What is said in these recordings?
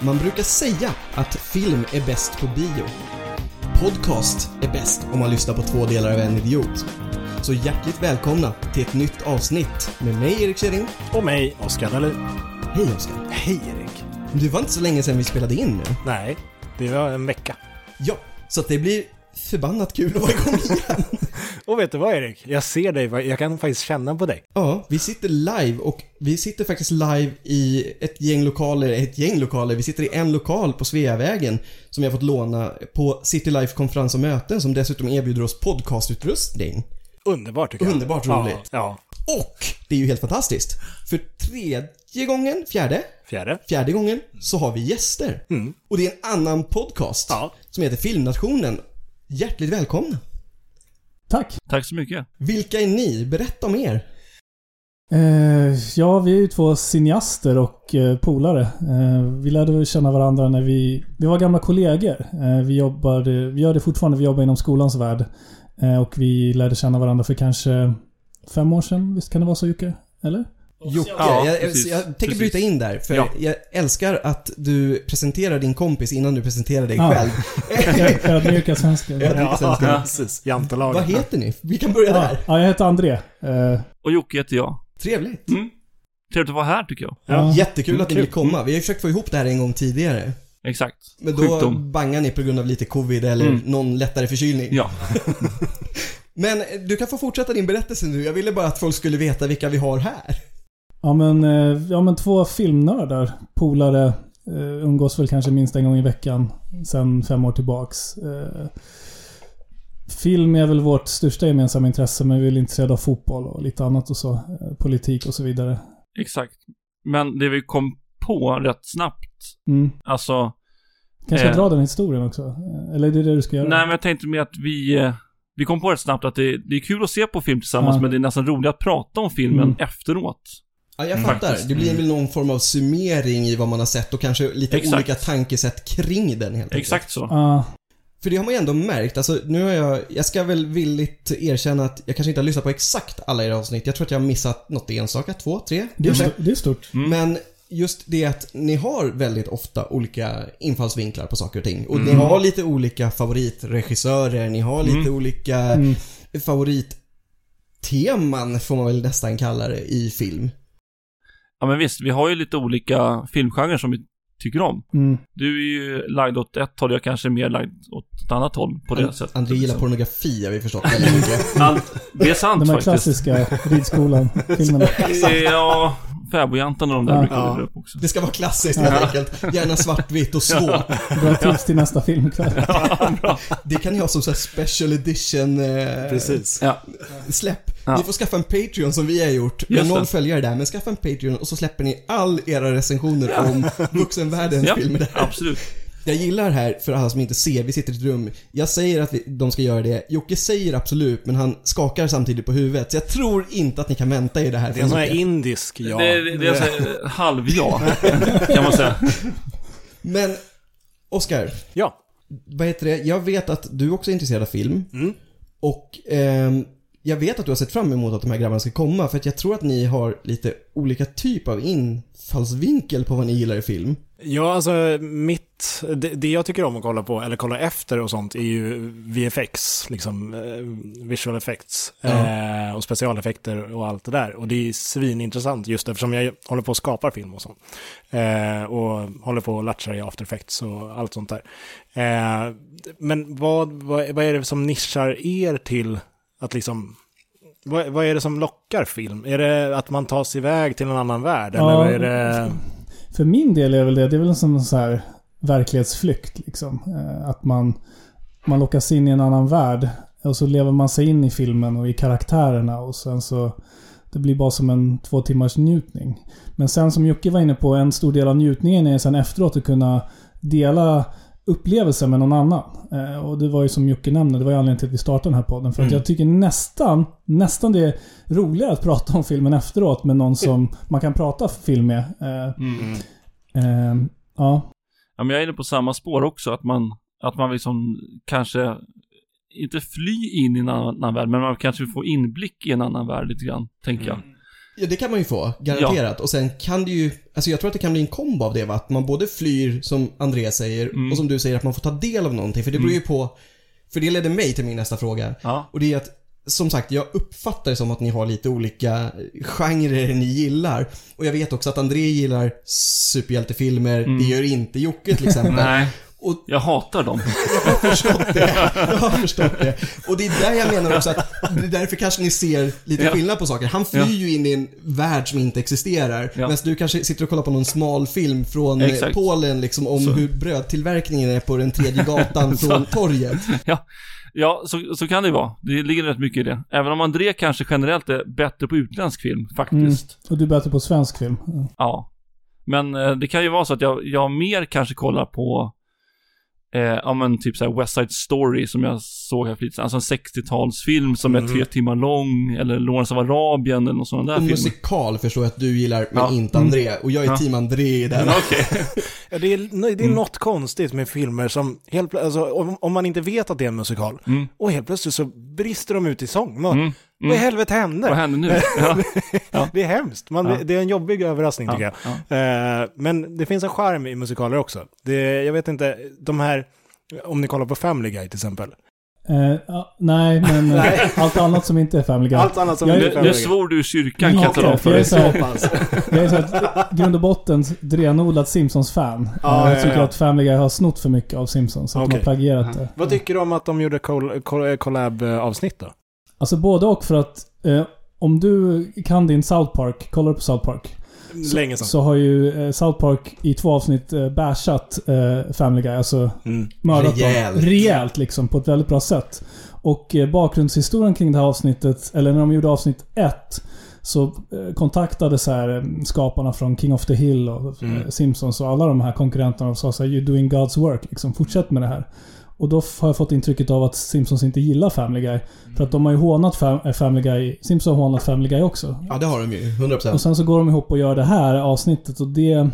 Man brukar säga att film är bäst på bio. Podcast är bäst om man lyssnar på två delar av en idiot. Så hjärtligt välkomna till ett nytt avsnitt med mig Erik Kjering. Och mig, Oskar Dahlin. Hej Oskar. Hej Erik. Det var inte så länge sedan vi spelade in nu. Nej, det var en vecka. Ja, så att det blir förbannat kul att vara igång igen. Och vet du vad Erik? Jag ser dig, jag kan faktiskt känna på dig. Ja, vi sitter live och vi sitter faktiskt live i ett gäng lokaler, ett gäng lokaler. Vi sitter i en lokal på Sveavägen som jag fått låna på City Life konferens och möten som dessutom erbjuder oss podcastutrustning. Underbart tycker jag. Underbart roligt. Ja, Och det är ju helt fantastiskt. För tredje gången, fjärde, ja. fjärde. Mm, fjärde gången så har vi gäster. Och det är en annan podcast Ja. som heter Filmnationen. Hjärtligt välkomna. Tack. Tack så mycket. Vilka är ni? Berätta om er. Eh, ja, vi är ju två cineaster och eh, polare. Eh, vi lärde väl känna varandra när vi... Vi var gamla kollegor. Eh, vi, jobbade, vi gör det fortfarande, vi jobbar inom skolans värld. Eh, och vi lärde känna varandra för kanske fem år sedan. Visst kan det vara så Jocke? Eller? Jocke, Ja, jag, precis. jag tänker Precis. bryta in där, för Ja. jag älskar att du presenterar din kompis innan du presenterar dig Ja. själv. Ödmjuka svenskar. Jag tycker sen ska- precis. Vad Jantelagen. heter ni? Vi kan börja Ja, där. ja, jag heter André. Eh, Och Jocke heter jag. Mm. Trevligt. Trevligt att vara här tycker jag. Ja. Jättekul Mm, att ni vill kul. komma. Vi har ju försökt få ihop det här en gång tidigare. Exakt. Men då Sjukdom. bangar ni på grund av lite covid eller Mm. någon lättare förkylning. Ja. Men eh, du kan få fortsätta din berättelse nu. Jag ville bara att folk skulle veta vilka vi har här. Ja men, eh, ja men två filmnördar, polare, eh, umgås väl kanske minst en gång i veckan sen fem år tillbaks. Eh, Film är väl vårt största gemensamma intresse men vi är väl intresserade av fotboll och lite annat och så. eh, Politik och så vidare. Exakt. Men det vi kom på rätt snabbt, Mm. alltså... Kanske Eh. ska dra den historien också? Eh, Eller är det det du ska göra? Nej, men jag tänkte med att vi... eh, Vi kom på rätt snabbt att det, det är kul att se på film tillsammans, Ja. men det är nästan roligt att prata om filmen Mm. efteråt. Ja, jag Mm. fattar. Faktiskt. Det blir väl någon form av summering i vad man har sett och kanske lite Exakt. olika tankesätt kring den helt enkelt. Exakt så. Ah, För det har man ju ändå märkt. Alltså, nu har jag, jag ska väl villigt erkänna att jag kanske inte har lyssnat på exakt alla era avsnitt. Jag tror att jag har missat något enstaka, två, tre det, är kanske. st- det är stort. Mm. Men just det att ni har väldigt ofta olika infallsvinklar på saker och ting. Och ni Mm. har lite olika favoritregissörer, ni har lite olika Mm. favoritteman får man väl nästan kalla det i film. Ja, men visst, vi har ju lite olika filmgenrer som vi tycker om. Mm. Du är ju lagd åt ett håll, jag kanske är mer lagd åt ett annat håll på det An- sättet. liksom. André gillar pornografi har vi förstått väldigt mycket. Allt, det är sant De här faktiskt. klassiska ridskolan-filmerna. Eh, Ja, fäbodjäntan och de där Ja. brukar Alltså. Ja. vi dra upp också. Det ska vara klassiskt helt enkelt. Gärna svartvitt och svårt. Bra tips till nästa film ikväll. Det kan ni ha som så här special edition eh, Precis. Ja, släpp. Ja. Ni får skaffa en Patreon som vi har gjort. Med Just det. noll följare där, men skaffa en Patreon och så släpper ni all era recensioner om vuxenvärldens ja filmer där. absolut. Jag gillar här, för alla som inte ser, vi sitter i ett rum. Jag säger att vi, de ska göra det. Jocke säger absolut, men han skakar samtidigt på huvudet. Så jag tror inte att ni kan vänta er det här. Det är en sån här mycket. indisk ja. Det, det, det är så här, halvja, kan man säga. men, Oscar, Ja. vad heter det? Jag vet att du också är intresserad av film. Mm. Och ehm, jag vet att du har sett fram emot att de här grabbarna ska komma för att jag tror att ni har lite olika typ av infallsvinkel på vad ni gillar i film. Ja, alltså mitt, det, det jag tycker om att kolla på, eller kolla efter och sånt, är ju VFX, liksom eh, visual effects eh, och specialeffekter och allt det där. Och det är svinintressant just eftersom jag håller på att skapa film och sånt. Eh, och håller på och latchar i after effects och allt sånt där. Eh, men vad, vad, vad är det som nischar er till att liksom, vad, vad är det som lockar film? Är det att man tas iväg till en annan värld? Ja. Eller är det... För min del är väl det, det är väl som en så här verklighetsflykt liksom. Eh, Att man, man lockas in i en annan värld och så lever man sig in i filmen och i karaktärerna och sen så det blir bara som en två timmars njutning. Men sen som Jocke var inne på, en stor del av njutningen är sen efteråt att kunna dela upplevelsen med någon annan. Eh, och det var ju som Jocke nämnde, det var ju anledningen till att vi startade den här podden. För att jag tycker nästan, nästan det är roligare att prata om filmen efteråt med någon som man kan prata film med. Eh, Ehm, ja. Ja, men jag är inne på samma spår också, att man, att man liksom kanske Mm. inte fly in i en annan, annan värld, men man kanske får inblick i en annan värld lite grann, tänker jag. Ja, det kan man ju få, garanterat. Och sen kan det ju, alltså jag tror att det kan bli en kombo av det va? Att man både flyr, som Andreas säger, Mm. och som du säger, att man får ta del av någonting. För det beror ju på, för det ledde mig till min nästa fråga. Ja. Och det är att, som sagt, jag uppfattar det som att ni har lite olika genrer ni gillar. Och jag vet också att André gillar superhjältefilmer, det gör inte Jocke till exempel. Mm. Mm. Nej, Och- jag hatar dem. Jag har förstått det. Jag har förstått det. Och det är där jag menar också att det är därför kanske ni ser lite Ja. skillnad på saker. Han flyr Ja. ju in i en värld som inte existerar. Ja. Medan du kanske sitter och kollar på någon smal film från eh, Exakt. Polen liksom om hur brödtillverkningen är på den tredje gatan från torget. Ja, ja så, så kan det ju vara. Det ligger rätt mycket i det. Även om André kanske generellt är bättre på utländsk film, faktiskt. Och du är bättre på svensk film. Ja. Ja. Men eh, det kan ju vara så att jag, jag mer kanske kollar på eh, ja men typ såhär West Side Story som jag såg här för lite sedan. Alltså en 60-talsfilm som Mhm. är tre timmar lång eller Lawrence av Arabien eller någon sån där Och film. musikal förstår jag att du gillar, men Ja. Mm. inte André. Och jag är Ja. team André där. Okej. Ja, det är, nej, det är Mm. något konstigt med filmer som, helt, plö- alltså, om, om man inte vet att det är en musikal, Mm. och helt plötsligt så brister de ut i sång. Man, Mm. Vad i helvete hände? Vad händer nu? Ja. Det är hemskt. Man, Ja. Det är en jobbig överraskning tycker Ja, jag. Eh, men det finns en charm i musikaler också. Det, jag vet inte, de här, om ni kollar på Family Guy till exempel. Eh, ja, nej, men eh, allt annat som inte är Family Guy. Allt annat som Jag- är Nu, Family nu Guy. svor du i kyrkan kan Ja, jag tala om okej, för jag dig. är så här- Så pass. jag är så här, grund och botten ett renodlat Simpsons-fan. Ja, Eh, jag ja, tycker ja. att Family Guy har snott för mycket av Simpsons. Så att de Okej. har plagierat det. Vad tycker du om att de gjorde coll- coll- collab-avsnitt eh, då? Alltså både och för att eh, om du kan din South Park, kollar du på South Park, Länge sedan. så har ju eh, South Park i två avsnitt eh, bashat eh, Family Guy. Alltså Mm. mördat Rejält. dem. Rejält liksom, på ett väldigt bra sätt. Och eh, bakgrundshistorien kring det här avsnittet, eller när de gjorde avsnitt ett, så eh, kontaktade så här, eh, skaparna från King of the Hill och eh, Mm. Simpsons och alla de här konkurrenterna och sa så här, You're doing God's work, liksom, fortsätt med det här. Och då f- har jag fått intrycket av att Simpsons inte gillar Family Guy. För att de har ju hånat fam- eh, Family Guy, Simpsons har hånat Family Guy också. Ja, det har de ju. 100%. Och sen så går de ihop och gör det här avsnittet och det,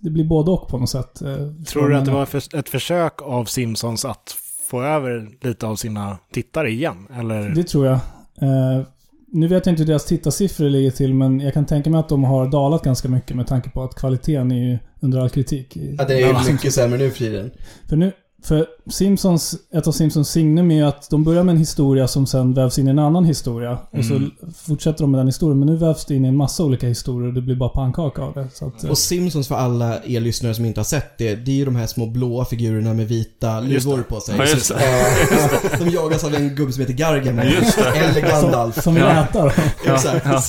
det blir både och på något sätt. eh, Tror från du att det en- var för- ett försök av Simpsons att få över lite av sina tittare igen? Eller? Det tror jag. Eh, nu vet jag inte hur deras tittarsiffror ligger till, men jag kan tänka mig att de har dalat ganska mycket med tanke på att kvaliteten är ju under all kritik. i- Ja, det är ju mycket sämre nu Friden. För, nu, för Simpsons, ett av Simpsons signum är ju att de börjar med en historia som sen vävs in i en annan historia. Och så Mm. fortsätter de med den historien, men nu vävs det in i en massa olika historier och det blir bara pannkaka av det. Så att, eh, Och Simpsons för alla er lyssnare som inte har sett det, det är ju de här små blåa figurerna med vita Just det. luvor på sig. Ja, just det. Eh, De jagas av en gubbe som heter Gargamel. Just det. Eller Gandalf. som vill Ja. äta då. Ja, Exakt. ja.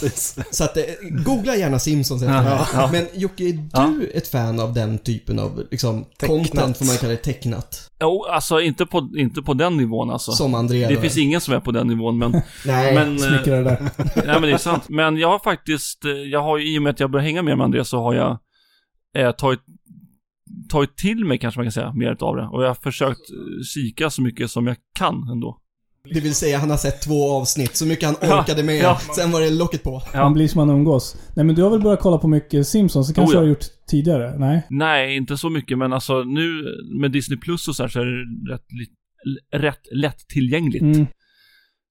Så att, eh, googla gärna Simpsons efter Ja, det här. ja. Men Jocke, är du ett fan av den typen av liksom, Tecknat. content, får man kalla det, tecknat? Jo, alltså inte på, inte på den nivån alltså. Som André Det då. finns ingen som är på den nivån men... Nej, men eh, Smickrar det där. Nej men det är sant. Men jag har faktiskt, eh, jag har ju i och med att jag börjar hänga mer med Andreas så har jag eh, tagit, tagit till mig kanske man kan säga, mer av det. Och jag har försökt eh, kika så mycket som jag kan ändå. det vill säga han har sett två avsnitt, så mycket han Ja, orkade med. ja. Sen var det locket på. Ja. Man blir som man umgås. Nej men du har väl börjat kolla på mycket Simpsons? Det kanske Oh, ja. du har gjort tidigare? Nej? Nej, inte så mycket men alltså nu med Disney Plus och så här så är det rätt, li- l- rätt lättillgängligt. Mm.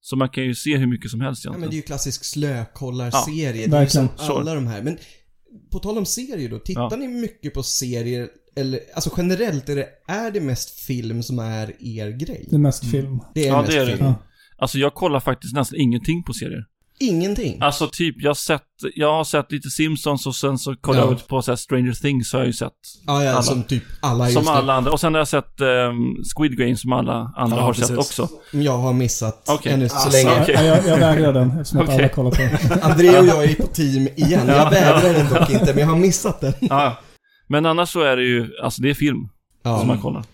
Så man kan ju se hur mycket som helst Ja, men egentligen. det är ju klassisk Ja, slökollarserie. det är ju verkligen. som alla de här. Men på tal om serier då, tittar Ja. ni mycket på serier? Eller, alltså generellt, är det, är det mest film som är er grej? Det är Mm. mest film. Det är Ja, mest det är det. film. Ja. Alltså jag kollar faktiskt nästan ingenting på serier. Ingenting. Alltså typ, jag har sett, jag har sett lite Simpsons och sen så kollar Ja. jag över på så här Stranger Things har jag ju sett. ja, ja, alla. som typ alla just Som nu. alla andra. Och sen har jag sett ehm, Squid Game som alla andra Ja, har precis. sett också. Jag har missat Okej. ännu så Alltså, länge. okej. Ja, jag, jag vägrar den eftersom att alla Okej. kollar på den. André och jag är på team igen. Jag Ja. vägrar den dock inte, men jag har missat den. Men annars så är det ju, alltså det är film som man Ja. kollar.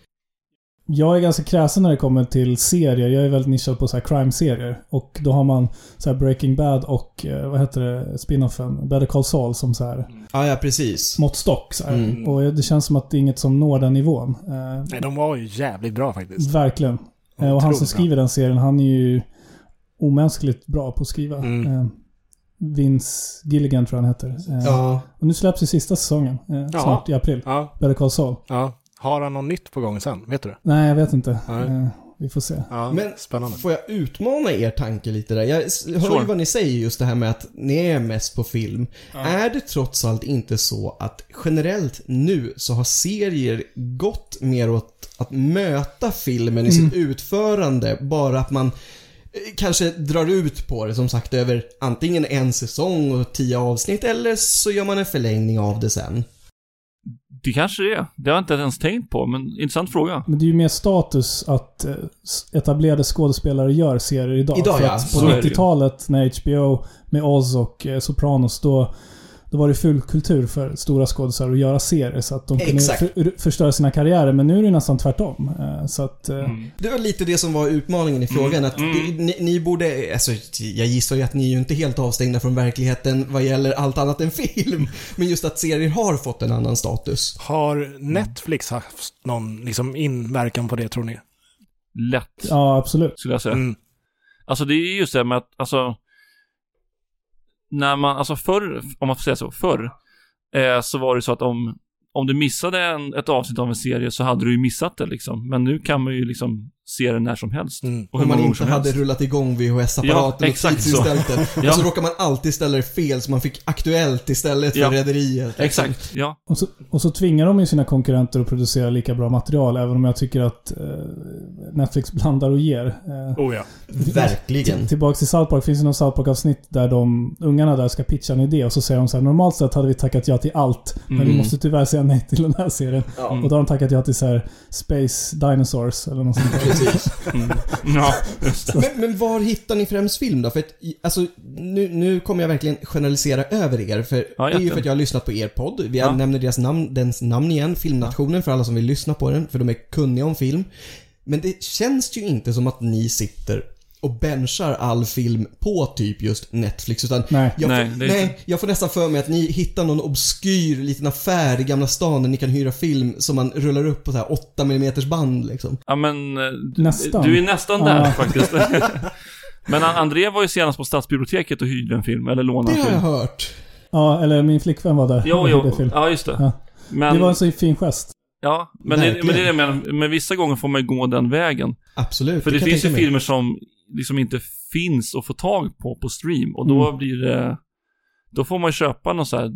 Jag är ganska kräsen när det kommer till serier. Jag är väldigt nischad på så här crime-serier. Och då har man så här Breaking Bad och, eh, vad heter det, spinoffen, Better Call Saul som så här Ja, ja, precis. måttstock. Så här. Mm. Och det känns som att det är inget som når den nivån. Eh, Nej, de var ju jävligt bra faktiskt. Verkligen. Eh, och han som Otroligt skriver den serien, han är ju omänskligt bra på att skriva. Mm. Eh, Vince Gilligan tror jag han heter. Eh, Ja. Och nu släpps ju sista säsongen eh, Ja. snart i april. Ja, Better Call Saul. ja. Har han något nytt på gång sen? Vet du det? Nej, jag vet inte. Nej. Eh, Vi får se. Ja, Men- spännande. Får jag utmana er tanke lite där? Jag s- hör Sure. ju vad ni säger just det här med att ni är mest på film. Är det trots allt inte så att generellt nu så har serier gått mer åt att möta filmen i sitt utförande, bara att man eh, Kanske drar ut på det som sagt över antingen en säsong och tio avsnitt eller så gör man en förlängning av det sen. Det kanske det är. Det har jag inte ens tänkt på, men intressant fråga. Men det är ju mer status att eh, s- etablerade skådespelare gör serier idag. Idag, För ja. att Så På är det ju. 90-talet när HBO med Oz och eh, Sopranos, då, då var det full kultur för stora skådespelare att göra serier. Så att de kunde Exakt. för, förstöra sina karriärer. Men nu är det nästan tvärtom. Eh, Så att... eh, Mm. Det var lite det som var utmaningen i frågan. Att det, ni, ni borde, alltså, jag gissar ju att ni är ju inte helt avstängda från verkligheten vad gäller allt annat än film. Men just att serier har fått en annan status. Har Netflix haft någon liksom, inverkan på det tror ni? Lätt, Ja, absolut. skulle jag säga. Mm. Alltså det är just det här med att, alltså... När man, alltså förr, om man får säga så, förr, eh, så var det så att om, om du missade en, ett avsnitt av en serie så hade du ju missat det liksom. Men nu kan man ju liksom se det när som helst. Mm. Och hur Om man många gånger inte som hade helst. rullat igång VHS-apparaten Ja, och exakt så. tidsinställt den. Ja. Och så råkar man alltid ställa det fel så man fick aktuellt istället för Ja. Rederiet. Exakt, ja. Och så, och så tvingar de ju sina konkurrenter att producera lika bra material, även om jag tycker att eh, Netflix blandar och ger. Eh, Oh ja. Verkligen. Till- Tillbaka till South Park. Finns det någon South Park-avsnitt där de ungarna där ska pitcha en idé och så säger de så här normalt sett hade vi tackat ja till allt, men vi Mm. måste tyvärr säga nej till den här serien. Ja. Och då har de tackat ja till så här Space Dinosaurs eller något sånt där. Precis. Mm. ja, just det. Men, men var hittar ni främst film då? För att, i- alltså, nu, nu kommer jag verkligen generalisera över er. För Ja, det är ju jätte. för att jag har lyssnat på er podd. Vi Ja. nämner deras namn, dens namn igen, Filmnationen, för alla som vill lyssna på den. För de är kunniga om film. Men det känns ju inte som att ni sitter och benchar all film på typ just Netflix. Utan Nej. jag, Nej, får, det är nej, jag får nästan för mig att ni hittar någon obskyr liten affär i Gamla stan där ni kan hyra film som man rullar upp på så här 8 mm band liksom. Ja men... eh, d- Nästan. Du är nästan Ja. där faktiskt. men An- André var ju senast på Stadsbiblioteket och hyrde en film, eller Det lånade en har jag film. hört. Ja, eller min flickvän var där. Jo, och gjorde jo. film. Ja, just det. Ja. Men, Det var en så fin gest. ja, men, det, men det är det Verkligen. jag menar. Men vissa gånger får man ju gå den vägen. Absolut. För det, kan jag finns ju tänka mig. filmer som liksom inte finns att få tag på på stream. Och då Mm. blir det... Då får man ju köpa någon så här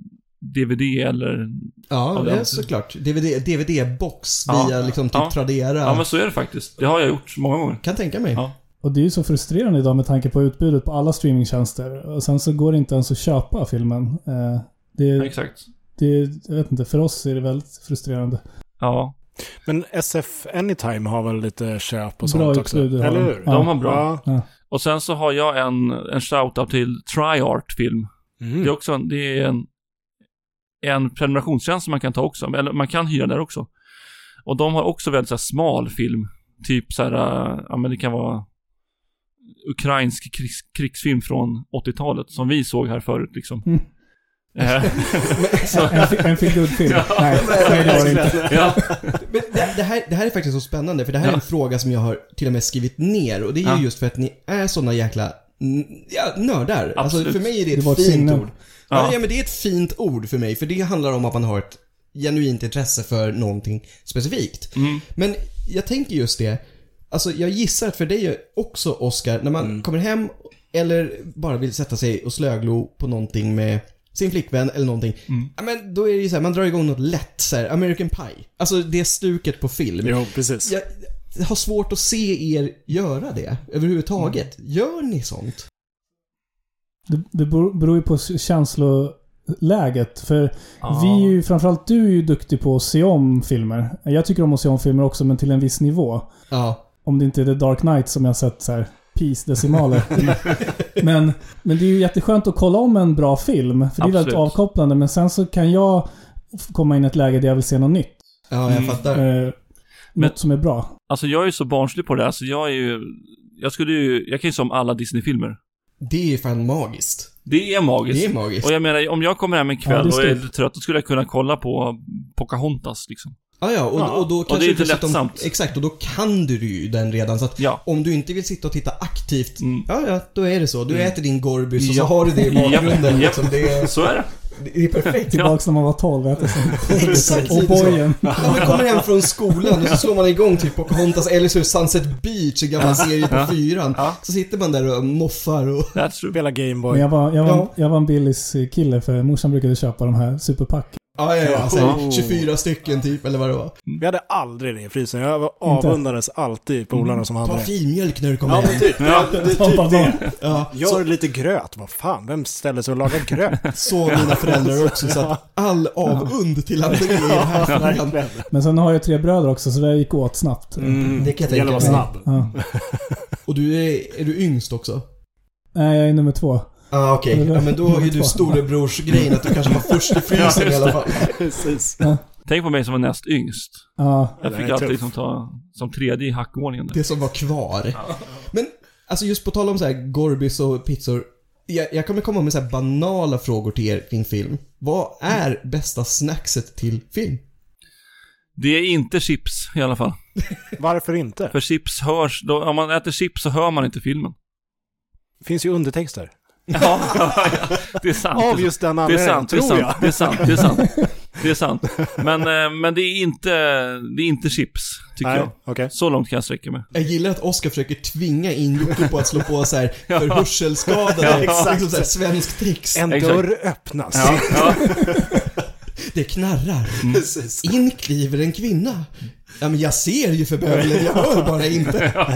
DVD eller... Ja, av det den. är såklart. DVD, DVD-box Ja. via liksom typ Ja. Tradera. Ja, men så är det faktiskt. Det har jag gjort många gånger. Kan tänka mig. Ja. Och det är ju så frustrerande idag med tanke på utbudet på alla streamingtjänster. Och sen så går det inte ens att köpa filmen. Eh, Ja, Det, exakt. det, jag vet inte, för oss är det väldigt frustrerande. Ja. Men SF Anytime har väl lite köp och Bra sånt också? utbud har Eller de. hur? Ja. De har bra. Ja. Och sen så har jag en, en shout-out till Triart-film. Det är Mm. också en, det är en, en prenumerationstjänst som man kan ta också, eller man kan hyra där också. Och de har också väldigt så här, smal film. Typ så här, äh, ja men det kan vara ukrainsk krigs, krigsfilm från 80-talet som vi såg här förut liksom. Mm. Eh, så, En, fi- en feel film Nej, nej, det var det inte. ja, Men det, det, här, det här är faktiskt så spännande, för det här är Ja. en fråga som jag har till och med skrivit ner. Och det är ju Ja. just för att ni är såna jäkla n- ja, nördar. Alltså, Absolut. för mig är det Det ett var ett fint signum. ord. Ja. Ja. ja, men det är ett fint ord för mig, för det handlar om att man har ett genuint intresse för någonting specifikt. mm, Men jag tänker just det. Alltså jag gissar att för dig också Oscar, när man kommer hem eller bara vill sätta sig och slöglo på någonting med sin flickvän eller någonting. Ja, men då är det ju så här, man drar igång något lätt så här, American Pie. Alltså det stuket på film. Jo, precis. Jag har svårt att se er göra det överhuvudtaget. Gör ni sånt? Det, det beror beror ju på s- känsloläget. För Ja. vi är ju, framförallt du är ju duktig på att se om filmer. Jag tycker om att se om filmer också, men till en viss nivå. Ja. Om det inte är The Dark Knight som jag sett så här peace-decimaler. men, men det är ju jätteskönt att kolla om en bra film. För det är väldigt Absolut. avkopplande. Men sen så kan jag f- komma in i ett läge där jag vill se något nytt. Ja, jag Mm. fattar. Eh, Men- något som är bra. alltså jag är ju så barnslig på det här, så jag är ju, jag skulle ju, jag kan ju se om alla Disney-filmer. Det är fan magiskt. Det är magiskt. Det är magiskt. Och jag menar, om jag kommer hem en kväll Ja, det är och är stort. lite trött, då skulle jag kunna kolla på Pocahontas liksom. Ja, ja, och, Ja, och då och kanske det är lite dessutom- lättsamt. Exakt, och då kan du ju den redan. Så att Ja. om du inte vill sitta och titta aktivt, Mm. ja, ja, då är det så. Du äter din Gorbis och så Ja. har du det i Japp, bakgrunden. japp. Liksom. Det är, Så är det. Det är perfekt. Tillbaks när man var 12, äter som Exakt Och lite så. bojen. När man kommer hem från skolan och så slår man igång typ Pocahontas eller så är det Sunset Beach, en gammal serie på fyran. Ja. Så sitter man där och moffar och... That's true. Spela Gameboy. Men jag var, jag, Ja. var, jag var en Billys kille för morsan brukade köpa de här superpack. Ja, ja, ja. Alltså, Oh. 24 stycken typ, eller vad det var. Vi hade aldrig det i frysen. Jag var- Inte? avundades alltid polarna som hade Ta det. filmjölk när du kommer Ja hem. men typ, ja. det, är typ det. Ja, så, Gör lite gröt, vad fan, vem ställer sig och lagar gröt? så mina föräldrar också, så att all avund till att det är här frågan. Men sen har jag tre bröder också så det gick åt snabbt. Mm. Det kan jag Mm, gäller tänka mig. att vara snabb. Ja. Och du är, är du yngst också? Nej, jag är nummer två. Ja ah, okej, ja, men då är du storebrorsgrejen att du kanske var först i frysen i alla fall. Precis. Tänk på mig som var näst yngst. Ja, Jag det fick är alltid tufft. liksom ta som tredje i hackordningen. där. Det som var kvar. Men alltså just på tal om så här Gorbis och pizzor. Jag, jag kommer komma med så här banala frågor till er kring film. Vad är bästa snackset till film? Det är inte chips i alla fall. Varför inte? För chips hörs, då, om man äter chips så hör man inte filmen. Det finns ju undertexter. Ja, det är sant. Av just den det är anledningen, sant, det är tror sant, jag. det är sant, det är sant, det är sant. Det är sant. Men, eh, men det är inte, det är inte chips, tycker Nej, jag. okej. Så långt kan jag sträcka mig. Jag gillar att Oscar försöker tvinga in Jocke på att slå på så här för hörselskadade. Ja, liksom så här svensk trix. En Exakt. dörr öppnas. Ja, ja. Det knarrar. Precis. In kliver en kvinna. Ja men jag ser ju för bövelen, jag hör bara inte. Ja.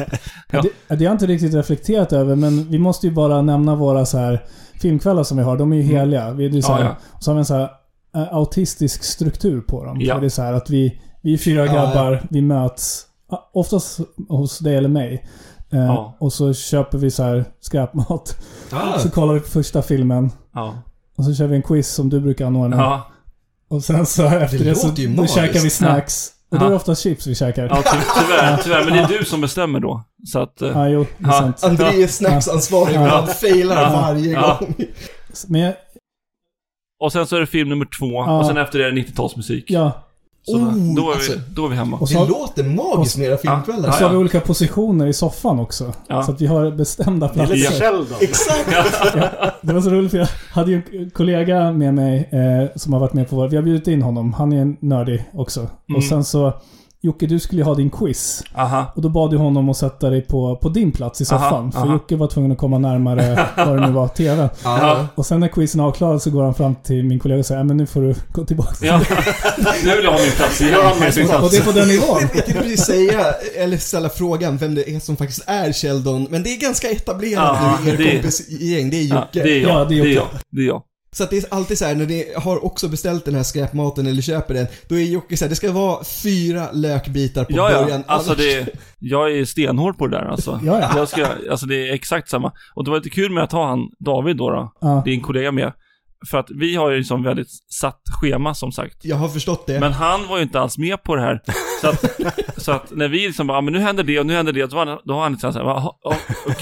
Det, det har jag inte riktigt reflekterat över, men vi måste ju bara nämna våra så här filmkvällar som vi har. De är ju heliga. Vi, det är så, här, Mm. Ja, så har vi en så här eh, autistisk struktur på dem. Ja. Så Det är så här att vi, vi är fyra Ja, grabbar, vi möts ah, oftast hos dig eller mig. Eh, Ja. Ah. Och så köper vi så här skräpmat. Så kollar vi på första filmen. ja. Och så kör vi en quiz som du brukar anordna. ja. Och sen så efter det, så låter ju då magiskt. käkar vi snacks. Och då är det Ja. oftast chips vi käkar. ja ty, tyvärr, tyvärr. Men det är du som bestämmer då. Så att, eh, Ja, jo, det är Ja. sant. André är snacksansvarig men han failar Ja. varje Ja. gång. Men jag, och sen så är det film nummer två. Ja. Och sen efter det är det 90-talsmusik. ja, Så Oh, då, är vi, alltså. då är vi hemma. och Det så, låter magiskt med era filmkvällar. Ja, Så har vi olika positioner i soffan också. Ja. Så att vi har bestämda Det är lite platser. Sheldon. Exakt! Det var så roligt för jag hade ju en kollega med mig eh, som har varit med på vår... Vi har bjudit in honom. Han är en nördig också. Mm. Och sen så... Jocke, du skulle ju ha din quiz. Aha. Och då bad du honom att sätta dig på, på din plats i Aha, soffan. för aha. Jocke var tvungen att komma närmare vad det nu var, TV. Ja. Och sen när quizen är avklarad så går han fram till min kollega och säger "Ja, men nu får du gå tillbaka. Ja. Nu vill jag ha min plats igen. Och det är på den nivån. Jag tänkte precis säga, eller ställa frågan, vem det är som faktiskt är Sheldon. Men det är ganska etablerat Ja, nu i det er är- kompisgäng. Det är Ja, Jocke. det är jag. Ja, det det är är Jocke. jag. Det är jag. Så att det är alltid så här när ni har också beställt den här skräpmaten eller köper den, då är Jocke så här, det ska vara fyra lökbitar på Ja, början. ja. Alltså annars- det, jag är stenhård på det där alltså. Ja, ja. Jag ska, alltså det är exakt samma. Och det var lite kul med att ha han David då, då Ja. din kollega med. För att vi har ju liksom väldigt satt schema som sagt. Jag har förstått det. Men han var ju inte alls med på det här. Så att, så att när vi liksom bara, ah, men nu händer det och nu händer det. Då har han, då har han lite såhär, oh,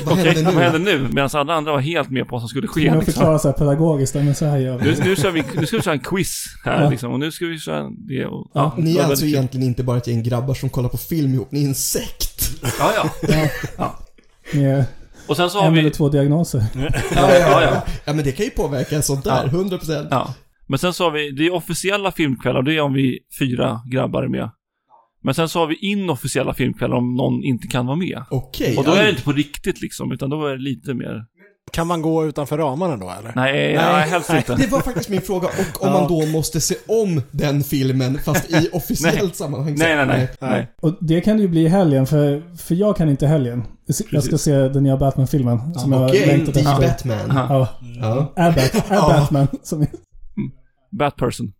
Vad okej, händer nu? vad händer nu? Medan alla andra var helt med på vad som skulle ske. Jag Liksom. förklarar så här pedagogiskt, "Ja, men så här gör vi. Nu, nu, kör vi, nu ska vi köra en quiz här Ja. liksom. Och nu ska vi köra det och... Ja, det Ni var är alltså väldigt kul. egentligen inte bara ett gäng grabbar som kollar på film ihop, ni är en sekt. Ja, ja. Med Och sen så har en eller vi... två diagnoser. Ja, ja, ja. ja men det kan ju påverka sånt där, Ja. 100%. Ja. Men sen så har vi, det är officiella filmkvällar, det är om vi fyra grabbar är med. Men sen så har vi inofficiella filmkvällar om någon inte kan vara med. Okej. Och då är det ja. inte på riktigt liksom, utan då är det lite mer... Kan man gå utanför ramarna då eller? Nej, nej, helst inte. Det var faktiskt min fråga, och om man då måste se om den filmen fast i officiellt sammanhang. Nej, nej, nej. nej. Och det kan det ju bli i helgen, för, för jag kan inte helgen. Jag ska Precis. se den nya Batman-filmen. Som jag har Okej, längtat The efter. Batman. Ja, Ja. är, Bat- är Ja. Batman. Som, Batperson.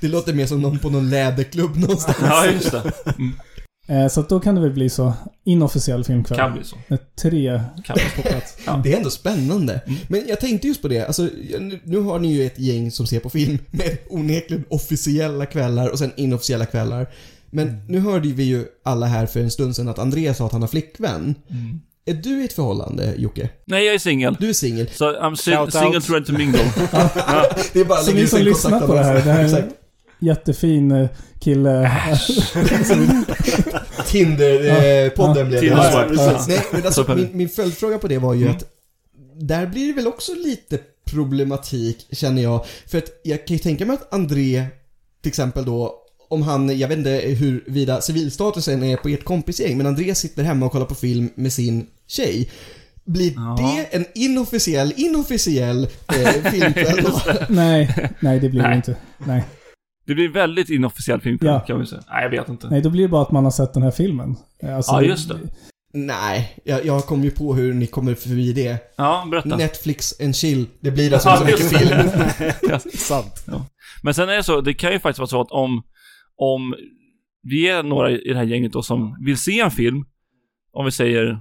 Det låter mer som någon på någon läderklubb någonstans. Ja, just det. eh, så att då kan det väl bli så. Inofficiell filmkväll. Kan bli så. Med tre Kan bli. på plats. Det är ändå spännande. Men jag tänkte just på det, alltså, nu- nu har ni ju ett gäng som ser på film med onekligen officiella kvällar och sen inofficiella kvällar. Men nu hörde vi ju alla här för en stund sedan att Andreas sa att han har flickvän. Är du i ett förhållande, Jocke? Nej, jag är singel. Du är singel. Så I'm Shout si- out. single thread to mingle. Det är bara att Så lägga ni ut som en lyssnar på det här. kontaktannons. Det här är en Exakt. jättefin eh, kille. Tinder-podden Ja. blev det. Tinder här. swipe. Nej, men alltså, Så kan Mm. min, min följdfråga på det var ju att där blir det väl också lite problematik känner jag. För att jag kan ju tänka mig att André till exempel då om han, jag vet inte huruvida civilstatusen är på ert kompisgäng, men André sitter hemma och kollar på film med sin tjej. Blir Ja. det en inofficiell, inofficiell eh, filmkväll då? Nej, nej det blir det Nej. inte. Nej. Det blir väldigt inofficiell filmkväll Ja. kan vi säga. Nej, jag vet inte. nej, då blir det bara att man har sett den här filmen. Eh, Alltså, Ja, just det. Nej, jag, jag kom ju på hur ni kommer förbi det. Ja, berätta. Netflix and chill, det blir alltså Ja, så mycket just film. Sant. Men sen är det så, det kan ju faktiskt vara så att om, om vi är några i det här gänget då som vill se en film, om vi säger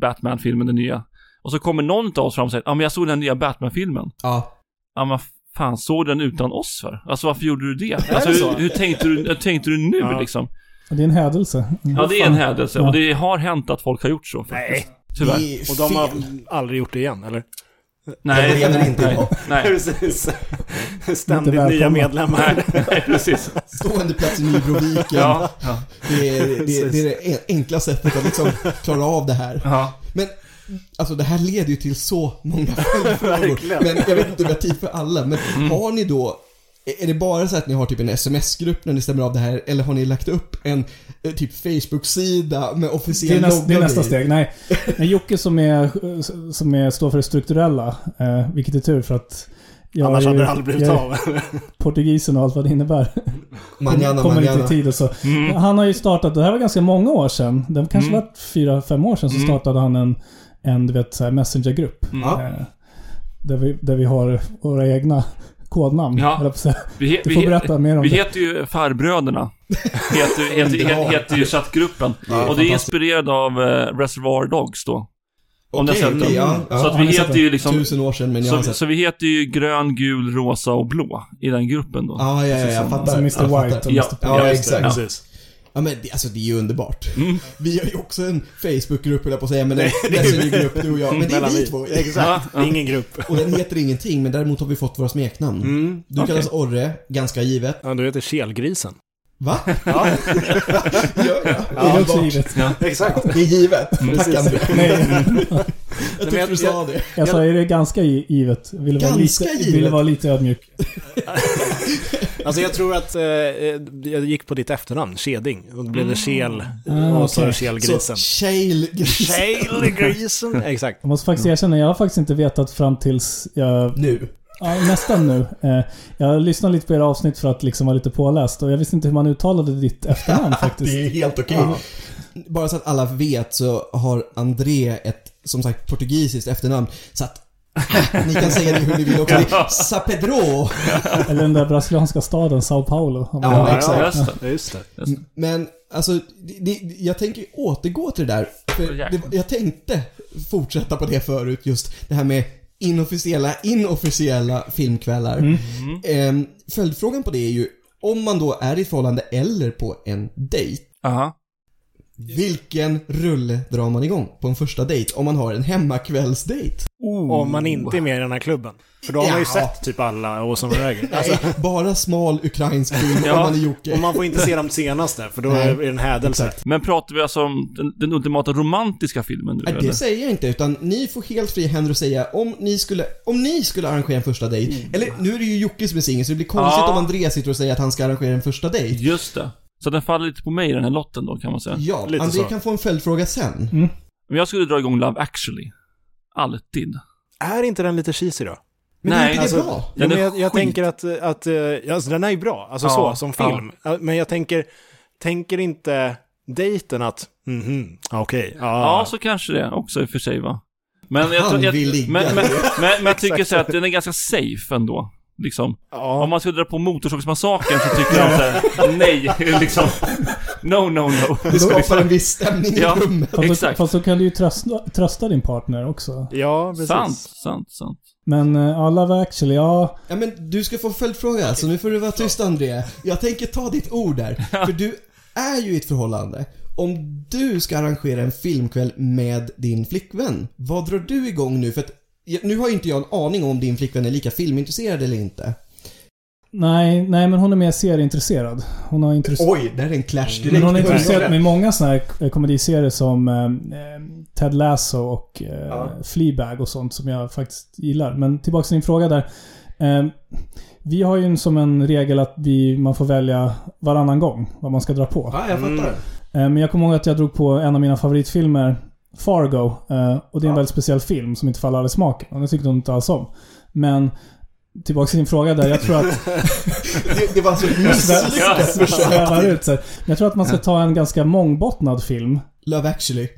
Batman-filmen, den nya, och så kommer någon av oss fram och säger ja men jag såg den nya Batman-filmen. Ja, Ja men fan, såg den utan oss för? Alltså varför gjorde du det? Alltså det så? hur, hur, tänkte, du, hur tänkte du nu Ja. liksom? Och Det är en hädelse. Mm. Ja det är en hädelse Ja. och det har hänt att folk har gjort så faktiskt. Nej. Tyvärr. det är Och de har fel. aldrig gjort det igen, eller? Jag Nej, lever inte nej, idag. nej, Precis. Inte Ständigt välkomna. nya medlemmar. nej, nej, precis. Stående plats i Nybroviken. Ja, ja, Det, är, det, är- det är det en- enkla sättet att liksom klara av det här. ja. Men alltså det här leder ju till så många följdfrågor. Verkligen. men jag vet inte om vi har tid för alla. Men Mm. har ni då, är det bara så att ni har typ en sms-grupp när ni stämmer av det här? Eller har ni lagt upp en eh, typ Facebook-sida med Det är, officiell näst, det är logga nästa i? steg. Nej. Men Jocke som, är, som är, står för det strukturella, eh, vilket är tur för att jag Annars är, hade det aldrig blivit jag är av. portugisen och allt vad det innebär. Manana, kommer inte i manana. tid och så. Mm. Han har ju startat, det här var ganska många år sedan, det kanske var fyra, fem år Mm. sedan, så startade han en, en du vet, så här messengergrupp. Ja. Eh, där, vi, där vi har våra egna kodnamn. Ja. höll jag på att säga. Vi, he- Du vi, får he- berätta mer om vi det. heter ju Farbröderna. Heter, heter, heter, heter ju chattgruppen. Ja, och det är fantastiskt. inspirerat av eh, Reservoir Dogs då. Om ni har Okej, sett den. ja, ja. så att har vi ni sett heter den? ju liksom... Tusen år sedan men jag har Så, sett. så vi heter ju grön, gul, rosa och blå i den gruppen då. Ja, ja, ja, jag Precis som- fattar. som Mr. Jag fattar. Alltså, White och Ja. Mr. Ja, exakt. Ja. Precis. men det, alltså det är ju underbart. Mm. Vi har ju också en Facebookgrupp höll jag på att säga, men en Messengergrupp du och jag. Men det är Mellan vi vi. två. Exakt. Ingen grupp. Och den heter ingenting, men däremot har vi fått våra smeknamn. Mm. Du kallas Orre, ganska givet. Ja, du heter Kelgrisen. Va? Ja, Gör jag? Det är också Underbart. givet. exakt. Det är givet. Tack Precis. André. Nej, Jag tyckte jag- du sa det. jag sa är det ganska gi- givet. Vill vara Ganska lite, givet. Vill vara lite ödmjuk. Alltså jag tror att eh, jag gick på ditt efternamn, Keding. Och då blev det Kel Ah, och så okej. Kelgrisen. Så, Shale Gris. Kelgrisen! Exakt. Jag måste faktiskt Mm. erkänna, jag har faktiskt inte vetat fram tills jag Nu. Ja, nästan nu. Eh, Jag lyssnade lite på era avsnitt för att liksom vara lite påläst och jag visste inte hur man uttalade ditt efternamn faktiskt. Det är helt okej. Ja. Bara så att alla vet så har André ett, som sagt, portugisiskt efternamn. Så att ni kan säga det hur ni vill också. Det är Sa Pedro. Eller den där brasilianska staden Sao Paulo. Ja, Ja, exakt. ja, just det. Ja, Just det. Men alltså, det, det, jag tänker ju återgå till det där. För det, jag tänkte fortsätta på det förut, just det här med inofficiella, inofficiella filmkvällar. Ehm, följdfrågan på det är ju, om man då är i ett förhållande eller på en dejt, Aha. vilken rulle drar man igång på en första dejt om man har en hemmakvällsdejt? Om man inte är med i den här klubben. För då har man ju Ja. sett typ alla och som röger. Alltså, Nej, bara smal ukrainsk film Ja, om man är Jocke. och man får inte se de senaste, för då Nej. är det en hädelse. Men pratar vi alltså om den, den ultimata romantiska filmen nu Nej, eller? det säger jag inte, utan ni får helt fri händer att säga om ni skulle, om ni skulle arrangera en första dejt. Eller nu är det ju Jocke som är singel, så det blir konstigt Ja. om Andreas sitter och säger att han ska arrangera en första dejt. Just det. Så den faller lite på mig den här lotten då kan man säga. Ja, Lite André så. kan få en följdfråga sen. Men jag skulle dra igång Love actually. Alltid. Är inte den lite cheesy då? Men Nej, är inte det alltså- bra? Den Ja, men är jag jag skit. tänker att, att eh, alltså, den är ju bra, alltså Ja, så, som film. Ja, Men jag tänker, tänker inte dejten att, mhm, ja, okej, Ja, ja, så kanske det också i och för sig va. Men jag, Han tror- jag, vill ligga. men, men, men, men jag tycker så här att den är ganska safe ändå. Liksom. ja, Om man skulle dra på Motorsågsmassakern så tycker jag så här, nej, liksom. No, no, no. Det skapar en viss stämning i Ja. rummet. Fast då, Exakt. fast då kan du ju trösta, trösta din partner också. ja, precis. Sant, sant, sant. Men eh, alla var actually, ja. Ja, men du ska få en följdfråga, så nu får du vara tyst André. Jag tänker ta ditt ord där. För du är ju i ett förhållande. Om du ska arrangera en filmkväll med din flickvän, vad drar du igång nu? För att jag- nu har ju inte jag en aning om din flickvän är lika filmintresserad eller inte. Nej, nej men hon är mer serieintresserad. Hon har intresse... Oj, där är en clash direkt. Men hon är i början. intresserad med många sådana här eh, komediserier som eh, eh, Ted Lasso och eh, Ja. Fleabag och sånt som jag faktiskt gillar. Men tillbaka till din fråga där. Eh, vi har ju en- som en regel att vi, man får välja varannan gång vad man ska dra på. Ja, jag fattar. Mm. Eh, Men jag kommer ihåg att jag drog på en av mina favoritfilmer, Fargo. eh, Och det är Ja. en väldigt speciell film som inte faller alla i smaken. Och den tyckte hon inte alls om. Men tillbaka till din fråga där. Jag tror att... Det, det var alltså ett Jag misslyckat försök. svävar ut så här. Men jag tror att man ska ta en ganska mångbottnad film. Love actually.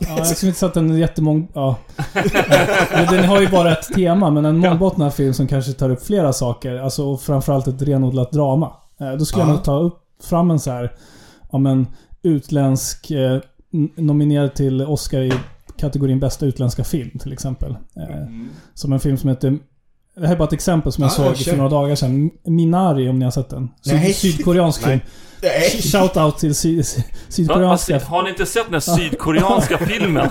Ja, jag skulle inte säga att den är jättemång... Ja. Men Den har ju bara ett tema, men en Ja. mångbottnad film som kanske tar upp flera saker. Alltså och framförallt ett renodlat drama. Eh, Då skulle Ja. jag nog ta upp, fram en så här, om en utländsk, eh, n- nominerad till Oscar i kategorin bästa utländska film till exempel. Eh, Som en film som heter det här är bara ett exempel som jag Mm. Ja, såg ja, kör. för några dagar sedan. Minari om ni har sett den. Syd- Nej. Sydkoreansk film. Nej. Shout out till sy Va? sydkoreanska Alltså, har ni inte sett den här sydkoreanska filmen?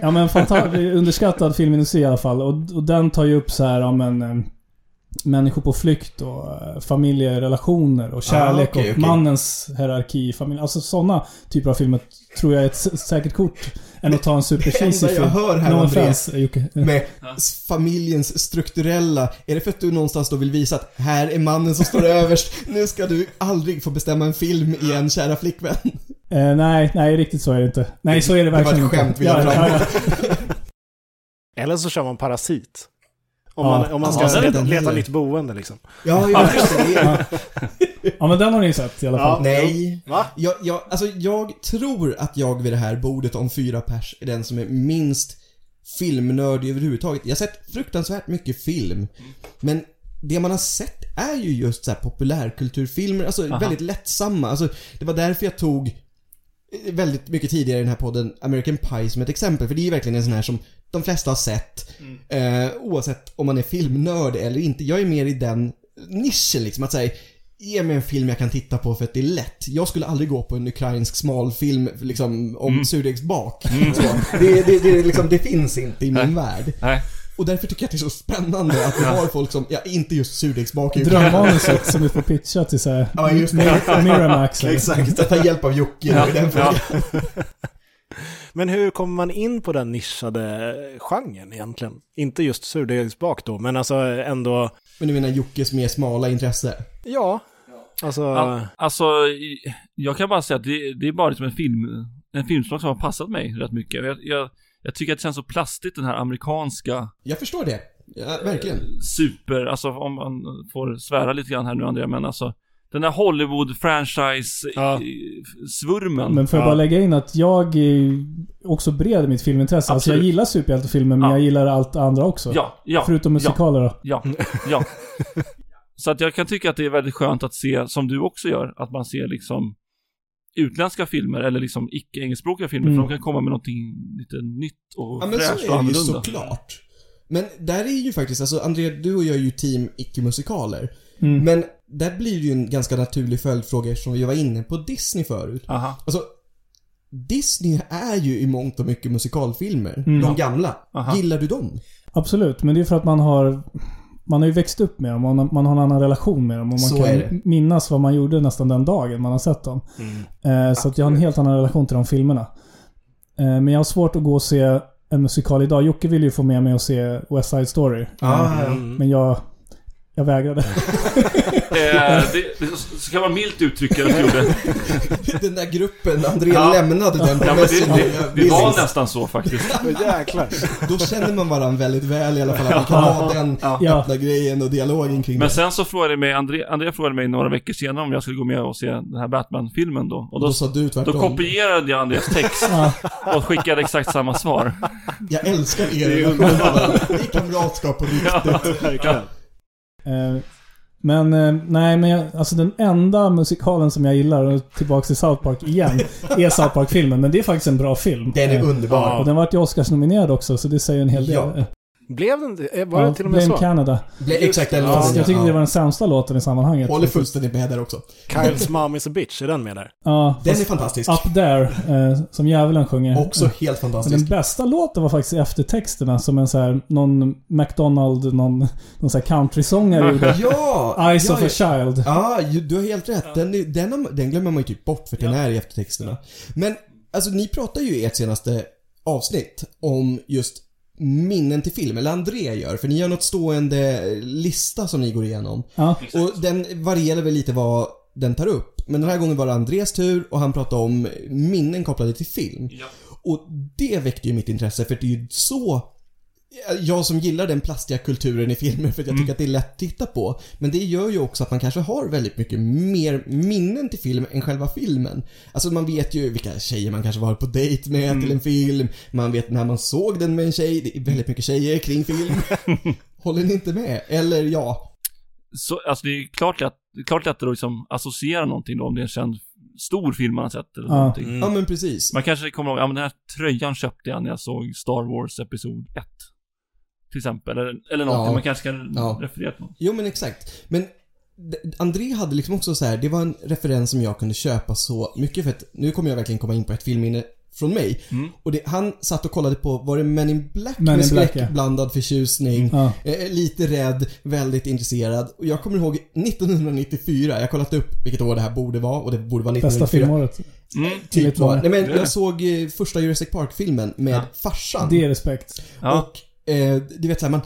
Ja men fantastisk, underskattad filmindustri i alla fall. Och, och den tar ju upp så här om en eh, människor på flykt och eh, familjerelationer och kärlek Ah, okej, och okej. mannens hierarki i familjen. Alltså sådana typer av filmer tror jag är ett sä- säkert kort än att ta en supercheesy enda jag film. hör här, no Andreas, offense, Jocke. Med s- familjens strukturella. Är det för att du någonstans då vill visa att här är mannen som står överst. Nu ska du aldrig få bestämma en film igen, kära flickvän. Eh, nej, nej riktigt så är det inte. Nej, så är det var ett verkligen inte. skämt vi la fram. Eller så kör man parasit. Om Ja. man, om man ska Ja, den- leta, den leta heller. nytt boende liksom. Ja, ja, just det. ja. ja, men den har ni ju sett i alla fall. Ja. Nej. Va? Jag, jag, alltså jag tror att jag vid det här bordet om fyra pers är den som är minst filmnördig överhuvudtaget. Jag har sett fruktansvärt mycket film. Men det man har sett är ju just så här populärkulturfilmer, alltså Aha. väldigt lättsamma. Alltså, det var därför jag tog eh, väldigt mycket tidigare i den här podden American Pie som ett exempel. För det är ju verkligen en sån här som de flesta har sett. Eh, oavsett om man är filmnörd eller inte. Jag är mer i den nischen liksom. Att säga Ge mig en film jag kan titta på för att det är lätt. Jag skulle aldrig gå på en ukrainsk smalfilm liksom, om Mm. surdegsbak. Så, det, det, det, är liksom, det finns inte i min värld. Nej. Och därför tycker jag att det är så spännande att vi har folk som, ja inte just surdegsbak i Ukraina. Drömmanuset som vi får pitcha till såhär... Ja, just det. Miramax. eller- Exakt, att ta hjälp av Jocke i den frågan. Ja. Men hur kommer man in på den nischade genren egentligen? Inte just surdegsbak då, men alltså ändå, Men du menar Jockes mer smala intresse? ja. Alltså, Ja, alltså, i- jag kan bara säga att det, det är bara liksom en film, en filmsmak som har passat mig rätt mycket. Jag, jag, jag tycker att det känns så plastigt den här amerikanska Jag förstår det. Ja, eh, verkligen. super, alltså om man får svära lite grann här nu Andrea, men alltså den där Ja. Hollywood-franchise-svurmen. Men får jag Ja. bara lägga in att jag är också bred i mitt filmintresse. Alltså jag Absolut. gillar superhjältefilmer men Ja. jag gillar allt andra också. Ja, ja, Förutom musikaler då. ja, ja. Så att jag kan tycka att det är väldigt skönt att se, som du också gör, att man ser liksom utländska filmer eller liksom icke-engelskspråkiga filmer, Mm. för de kan komma med någonting lite nytt och Ja men så fräscht och är det ju annorlunda. såklart. Men där är ju faktiskt, alltså André, du och jag är ju team icke-musikaler. Mm. Men där blir det ju en ganska naturlig följdfråga eftersom vi var inne på Disney förut. Aha, Alltså, Disney är ju i mångt och mycket musikalfilmer. Mm. De gamla. Aha. Gillar du dem? Absolut, men det är för att man har... Man har ju växt upp med dem och man- man har en annan relation med dem. Och man Så kan är det. minnas vad man gjorde nästan den dagen man har sett dem. Eh, så att jag har en helt annan relation till de filmerna. Eh, men jag har svårt att gå och se en musikal idag. Jocke ville ju få med mig och se West Side Story. Ah, mm. Men jag... Jag vägrade. Eh, det, det, så kan man milt uttrycka det, gjorde. Den där gruppen, André Ja. lämnade den på Ja, men det, Messenger. det, det var nästan så faktiskt. Men jäklar. Då känner man varandra väldigt väl i alla fall. Att man kan ha den Ja. öppna grejen och dialogen kring Men det. sen så frågade mig, André, André frågade mig några veckor senare om jag skulle gå med och se den här Batman-filmen då. Och Då då, sa du tvärtom. då kopierade jag Andreas text Ja. och skickade exakt samma svar. Jag älskar er relation med varandra. Det är kamratskap på riktigt. Verkligen. Eh, Men eh, nej, men jag, alltså den enda musikalen som jag gillar, och tillbaks till South Park igen, är South Park-filmen. Men det är faktiskt en bra film. Den är Eh, underbar. Och den vart ju Oscars-nominerad också, så det säger en hel del. Ja, Eh, Blev den, eh, var det till och med Blame så? Canada. Ble- Exakt den Ja, låten. jag tyckte ja. det var den sämsta låten i sammanhanget. Håller fullständigt med där också. Kyles mom is a bitch, är den med där? Ja, Den är fast fantastisk. Up There, eh, som djävulen sjunger. Också Eh, helt Men den fantastisk. bästa låten var faktiskt eftertexterna, som en så här, någon McDonald, någon, någon så här countrysångare gjorde. Ja! Eyes ja, of a Child. Ja, ju- du har helt rätt. Den, är- den, har- den glömmer man ju typ bort för att den är i eftertexterna. Men Alltså ni pratar ju i ert senaste avsnitt om just minnen till film, eller André gör, för ni har något stående lista som ni går igenom. Ja. Och den varierar väl lite vad den tar upp. Men den här gången var det Andrés tur och han pratade om minnen kopplade till film. Ja. Och det väckte ju mitt intresse för det är ju så jag som gillar den plastiga kulturen i filmer för att jag tycker att det är lätt att titta på. Men det gör ju också att man kanske har väldigt mycket mer minnen till film än själva filmen. Alltså man vet ju vilka tjejer man kanske var på dejt med till en film. Man vet när man såg den med en tjej. Det är väldigt mycket tjejer kring film. Håller ni inte med? Eller ja, Så, alltså det är klart, lätt, det är klart lättare att liksom associera någonting då, om det är en känd stor film man har sett eller Ja. någonting. Mm. Ja men precis. Man kanske kommer ihåg, ja men den här tröjan köpte jag när jag såg Star Wars Episod 1. Till exempel, eller, eller någonting. Ja. Man kanske kan Ja. referera till något. Jo men exakt. Men d- André hade liksom också så här, det var en referens som jag kunde köpa så mycket för att nu kommer jag verkligen komma in på ett filmminne från mig. Mm. Och det, han satt och kollade på, var det Men in Black Men med in Black, skräckblandad förtjusning? Ja. Eh, lite rädd, väldigt intresserad. Och jag kommer ihåg 1994, jag har kollat upp vilket år det här borde vara och det borde vara Bästa 1994. filmåret. Mm. Typ var, nej men Ja. jag såg eh, första Jurassic Park-filmen med Ja. farsan. Det är respekt. Ja. Och eh, du vet såhär, man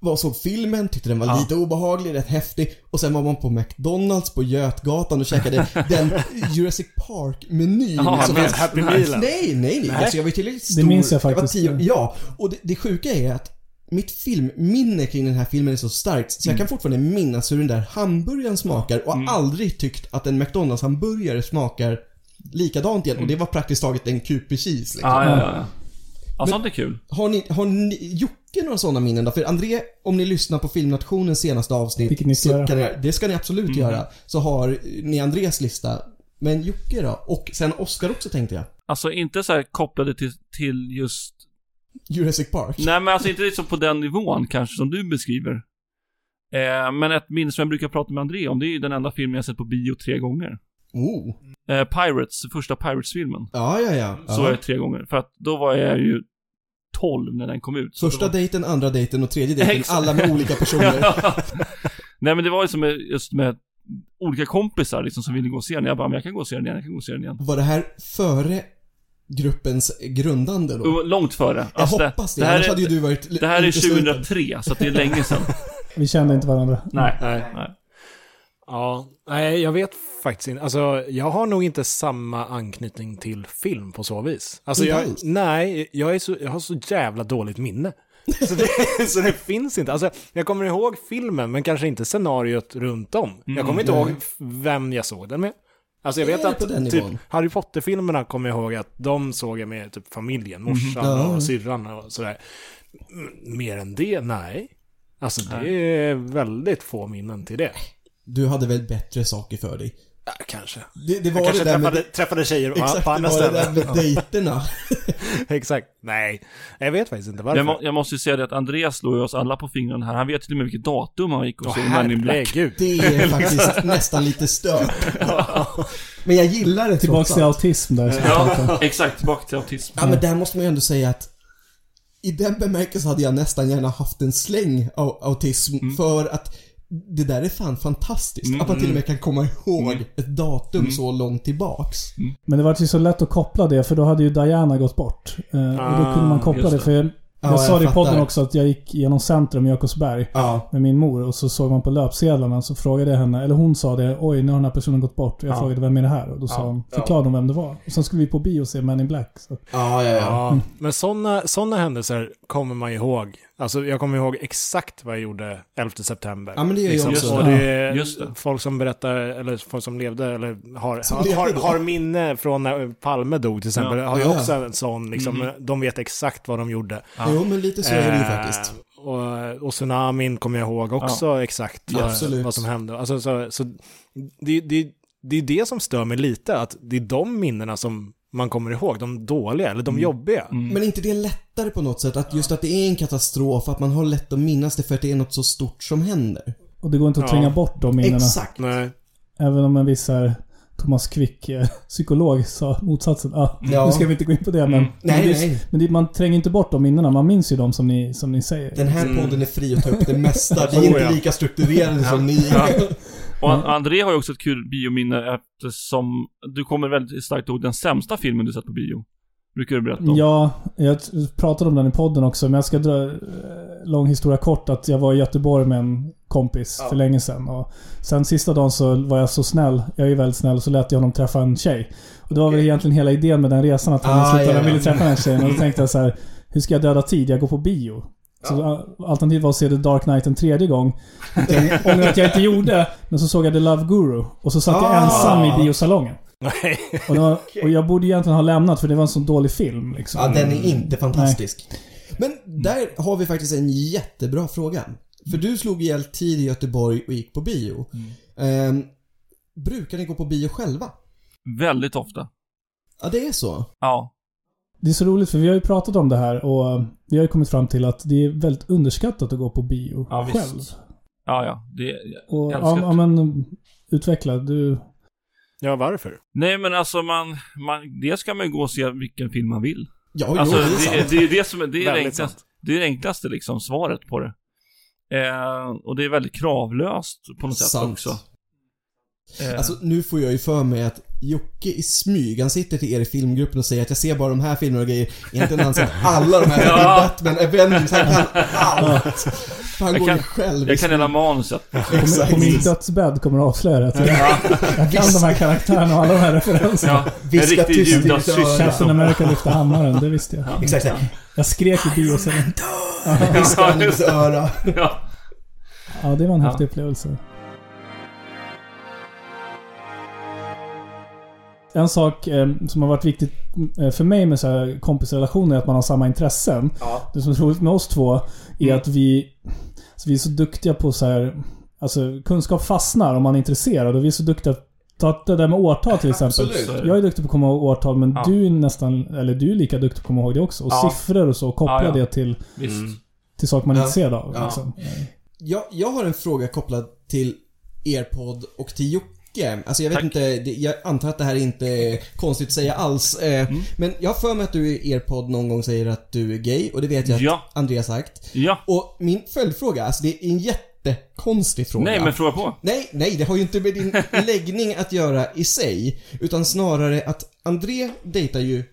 var och såg filmen, tyckte den var Ja. lite obehaglig, rätt häftig. Och sen var man på McDonalds på Götgatan och käkade den Jurassic Park-menyn Jaha, som men fanns. Happy Nej, Mealen. nej, nej. Nej. Alltså, jag var ju tillräckligt stor. minns jag faktiskt. var tio, ja, och det, det sjuka är att mitt filmminne kring den här filmen är så starkt Mm. så jag kan fortfarande minnas hur den där hamburgaren smakar och har aldrig tyckt att en McDonalds-hamburgare smakar likadant igen. Och Mm. det var praktiskt taget en kupig-cheese liksom. Ja, ja, ja. ja. Ja, sånt är kul. Har ni, har ni Jocke några sådana minnen då? För André, om ni lyssnar på Filmnationens senaste avsnitt. Vilket ni ska så göra. Mm. Kan ni, det ska ni absolut göra. Så har ni Andrés lista. Men Jocke då? Och sen Oscar också tänkte jag. Alltså inte så här kopplade till, till just... Jurassic Park. Nej men alltså inte liksom på den nivån kanske som du beskriver. Eh, men ett minne som jag brukar prata med André om, det är ju den enda filmen jag sett på bio tre gånger. Oh. Eh, Pirates, första Pirates-filmen. Ja, ja, ja. ja. Så är jag tre gånger. För att då var jag ju 12 när den kom ut. så Första det dejten, andra dejten och tredje dejten. Exakt. Alla med olika var... personer. Nej men det var ju som med- just med olika kompisar liksom som ville gå och se den. Jag bara, men jag kan gå och se den igen, jag kan gå och se den igen. Var det här före gruppens grundande då? Och Långt före. Jag Alltså, hoppas det. Det här Annars är, hade ju du varit l- det här är utesluten. 2003, så att det är länge sedan. Vi kände inte varandra. Nej. Nej. Nej. Ja, nej, jag vet faktiskt inte. Alltså, jag har nog inte samma anknytning till film på så vis. Alltså, Inte jag, alls? nej, jag, är så, jag har så jävla dåligt minne. Så det, så det finns inte. Alltså, jag kommer ihåg filmen, men kanske inte scenariot runt om. jag kommer inte ihåg f- vem jag såg den med. Alltså jag Är vet det att Mm, på den typ, nivån? Harry Potter-filmerna kommer jag ihåg att de såg jag med typ familjen, morsan Mm. Ja. och syrran och sådär. M- Mer än det, nej. Alltså det är väldigt få minnen till det. Du hade väl bättre saker för dig? Ja, kanske. Det, det var jag kanske det där med... träffade, träffade tjejer Exakt, på det andra var det där ställen. med dejterna. Exakt. Nej, jag vet faktiskt inte varför. Jag, må, Alltså- jag måste ju säga det att Andreas slår ju oss alla på fingrarna här. Han vet till och med vilket datum han gick och Åh, såg Men in Black. herregud. Det är faktiskt nästan lite stört. Men jag gillar det Tillbaks trots till allt. autism där. som jag pratade om. Ja, exakt. Tillbaka till autism. Ja, men där måste man ju ändå säga att i den bemärkelsen hade jag nästan gärna haft en släng av autism för att det där är fan fantastiskt. Att man till och med kan komma ihåg ett datum så långt tillbaks. Men det var ju så lätt att koppla det, för då hade ju Diana gått bort. Eh, och då kunde man koppla det. Ah, just det. för jag, jag jag sa det i podden fattar. också att jag gick genom centrum i Jakobsberg. Ja. med min mor och så såg man på löpsedlarna så frågade jag henne, eller hon sa det, oj nu har den här personen gått bort. Och jag frågade vem är det här? Och då sa hon, förklarade hon vem det var. Och sen skulle vi på bio och se Men in Black. Så. Ja, ja, ja. Ja, men sådana såna händelser kommer man ihåg. Alltså jag kommer ihåg exakt vad jag gjorde 11 september. Liksom. Ja, men det gör jag också. Och det är Just det. folk som berättar, eller folk som levde, eller har, Som har, levde då. har minne från när Palme dog till exempel. Ja. Mm. Har ju Ja. också en sån, liksom, de vet exakt vad de gjorde. Jo, men lite så är det ju Eh, faktiskt. Och, och tsunamin kommer jag ihåg också exakt Ja, vad- absolut. vad som hände. Alltså, så, så, det, det, det är det som stör mig lite, att det är de minnena som man kommer ihåg, de dåliga, eller de jobbiga. Men är inte det lättare på något sätt? Att just att det är en katastrof, att man har lätt att minnas det för att det är något så stort som händer. Och det går inte att Ja. tränga bort de minnena. Exakt. Nej. Även om en viss här, Thomas Quick, eh, psykolog, sa motsatsen. Ah, Ja. Nu ska vi inte gå in på det, men... Mm. Nej, men, det, nej. men det, man tränger inte bort de minnena. Man minns ju dem som ni, som ni säger. Den här podden är fri att ta upp det mesta. Vi är Oh, inte ja. lika strukturerade som ni. Ja. Och Mm. An- André har ju också ett kul biominne eftersom du kommer väldigt starkt ihåg den sämsta filmen du sett på bio. Brukar du berätta om. Ja, jag t- pratade om den i podden också, men jag ska dra eh, lång historia kort. Att jag var i Göteborg med en kompis Ja. för länge sedan. Och sen sista dagen så var jag så snäll, jag är ju väldigt snäll, så lät jag honom träffa en tjej. Och det var väl egentligen hela idén med den resan, att han Ah, i slutändan ja, ja. ville träffa den tjejen. Och då tänkte jag så här, hur ska jag döda tid? Jag går på bio. Så a- alternativet var att se The Dark Knight en tredje gång. Vilket Jag ångrar att jag inte gjorde, men så såg jag The Love Guru. Och så satt jag Ah. ensam i biosalongen. Nej. Och, det var, och jag borde egentligen ha lämnat för det var en så dålig film. Liksom. Ja, den är inte fantastisk. Men där har vi faktiskt en jättebra fråga. För du slog ihjäl tid i Göteborg och gick på bio. Ehm, brukar ni gå på bio själva? Väldigt ofta. Ja, det är så. Ja. Det är så roligt för vi har ju pratat om det här och vi har ju kommit fram till att det är väldigt underskattat att gå på bio Ja, visst. själv. Ja, ja. Det, Och, ja, Älskat. ja, men utveckla. Du... Ja, varför? nej, men alltså man, man... Det ska man ju gå och se vilken film man vill. Ja, Alltså, jo, det är sant. det, det är det som är det, är det Väldigt enklaste, sant. det, är det enklaste liksom, svaret på det. Eh, och det är väldigt kravlöst på något sätt Sant. också. Eh, Alltså nu får jag ju för mig att Jocke i smyg, han sitter till er i filmgruppen och säger att jag ser bara de här filmerna och grejer. Egentligen har han sett alla de här. Ja. Batman, Avengers, han kan allt. För han Jag går kan- ju själv. i jag kan hela manuset. Exakt. På min dödsbädd kommer du avslöja att jag, jag kan de här karaktärerna och alla de här referenserna. Ja, en Viska riktig tyst i ditt Judas öra. syster. Captain America lyfte hammaren, det visste jag. Exakt, exakt. Jag skrek i bio sen. Viskar han i ditt öra. Ja. Ja, det var en Ja. häftig upplevelse. En sak eh, som har varit viktigt eh, för mig med så här kompisrelationer är att man har samma intressen. Det som är roligt med oss två är Mm. att vi, alltså vi är så duktiga på så här, alltså kunskap fastnar om man är intresserad och vi är så duktiga Ta det där med årtal till exempel. Absolut. Jag är duktig på att komma ihåg årtal men Ja. du är nästan, eller du är lika duktig på att komma ihåg det också. Och Ja. siffror och så, och koppla Ja, ja. det till, Visst. Mm. till saker man är Ja. intresserad av. Ja. Liksom. Jag, jag har en fråga kopplad till er podd och till Jocke. Alltså jag vet Tack. inte, det, jag antar att det här är inte är konstigt att säga alls. Eh, Mm. Men jag har för mig att du i er podd någon gång säger att du är gay och det vet jag att Ja. Andreas sagt. Ja. Och min följdfråga, alltså det är en jättekonstig fråga. Nej, men fråga på. Nej, nej, det har ju inte med din läggning att göra i sig. Utan snarare att André dejtar ju,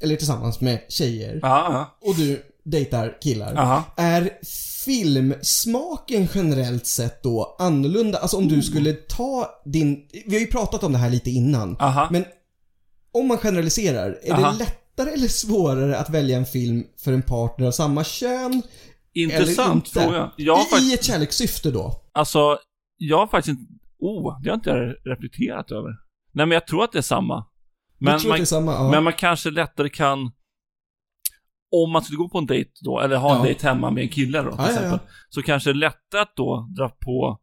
eller tillsammans med tjejer. Ja, ja. Och du dejtar killar. Aha. Är filmsmaken generellt sett då annorlunda? Alltså Mm. om du skulle ta din, vi har ju pratat om det här lite innan. Aha. Men om man generaliserar, är Aha. det lättare eller svårare att välja en film för en partner av samma kön? Intressant eller inte? fråga. Jag har I, faktiskt, I ett kärlekssyfte då? alltså, jag har faktiskt inte, oh, det har inte jag reflekterat över. Nej, men jag tror att det är samma. Men Men du tror att man, det är samma? Ja. Men man kanske lättare kan... Om man skulle gå på en dejt då, eller ha en Ja. dejt hemma med en kille då till Ja, ja, ja. exempel. Så kanske det är lättare att då dra på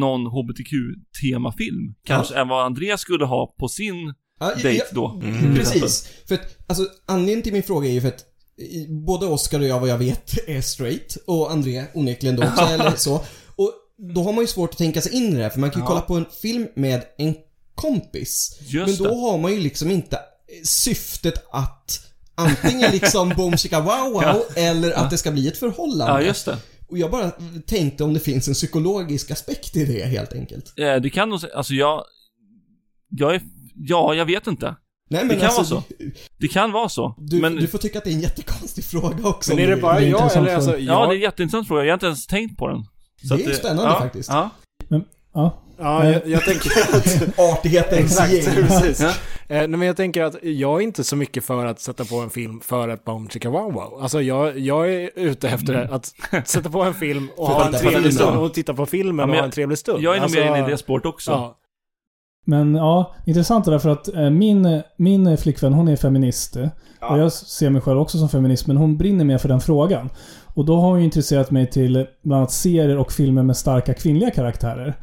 någon HBTQ-temafilm. Kanske än vad Andreas skulle ha på sin Ja, jag- dejt då. Mm. Precis. För att, alltså, anledningen till min fråga är ju för att i- både Oscar och jag vad jag vet är straight och André onekligen då också, eller så. Och då har man ju svårt att tänka sig in i det här för man kan ju Ja. kolla på en film med en kompis. Just men då det. har man ju liksom inte syftet att antingen liksom boom chicka wow wow eller att det ska bli ett Ja, förhållande. just det. och jag bara tänkte om det finns en psykologisk aspekt i det helt enkelt. Eh, det kan nog se- alltså jag... Jag är... Ja, jag vet inte. Nej, men Det kan alltså, vara Det kan vara så. Du, men du får tycka att det är en jättekonstig fråga också. Men om är du det vill. bara det är jag intressant eller alltså... fråga. ja, jag- det är en jätteintressant fråga. Jag har inte ens tänkt på den. Det är att spännande ja, faktiskt. Ja. Ja. Ja, jag, jag tänker att... Artighetens Exakt, gäng. precis. Ja. Eh, nej, men jag tänker att jag är inte så mycket för att sätta på en film för att Boom Chicka Wow Wow. Alltså jag, jag är ute efter att sätta på en film och För ha att en det är trevlig bra. stund och titta på filmen Ja, men och ha jag- en trevlig stund. Jag är nog Alltså, mer inne i det spåret också. Ja, Men ja, intressant det där för att eh, min, min flickvän hon är feminist. eh, Och jag ser mig själv också som feminist men hon brinner mer för den frågan. Och då har hon ju intresserat mig till bland annat serier och filmer med starka kvinnliga karaktärer.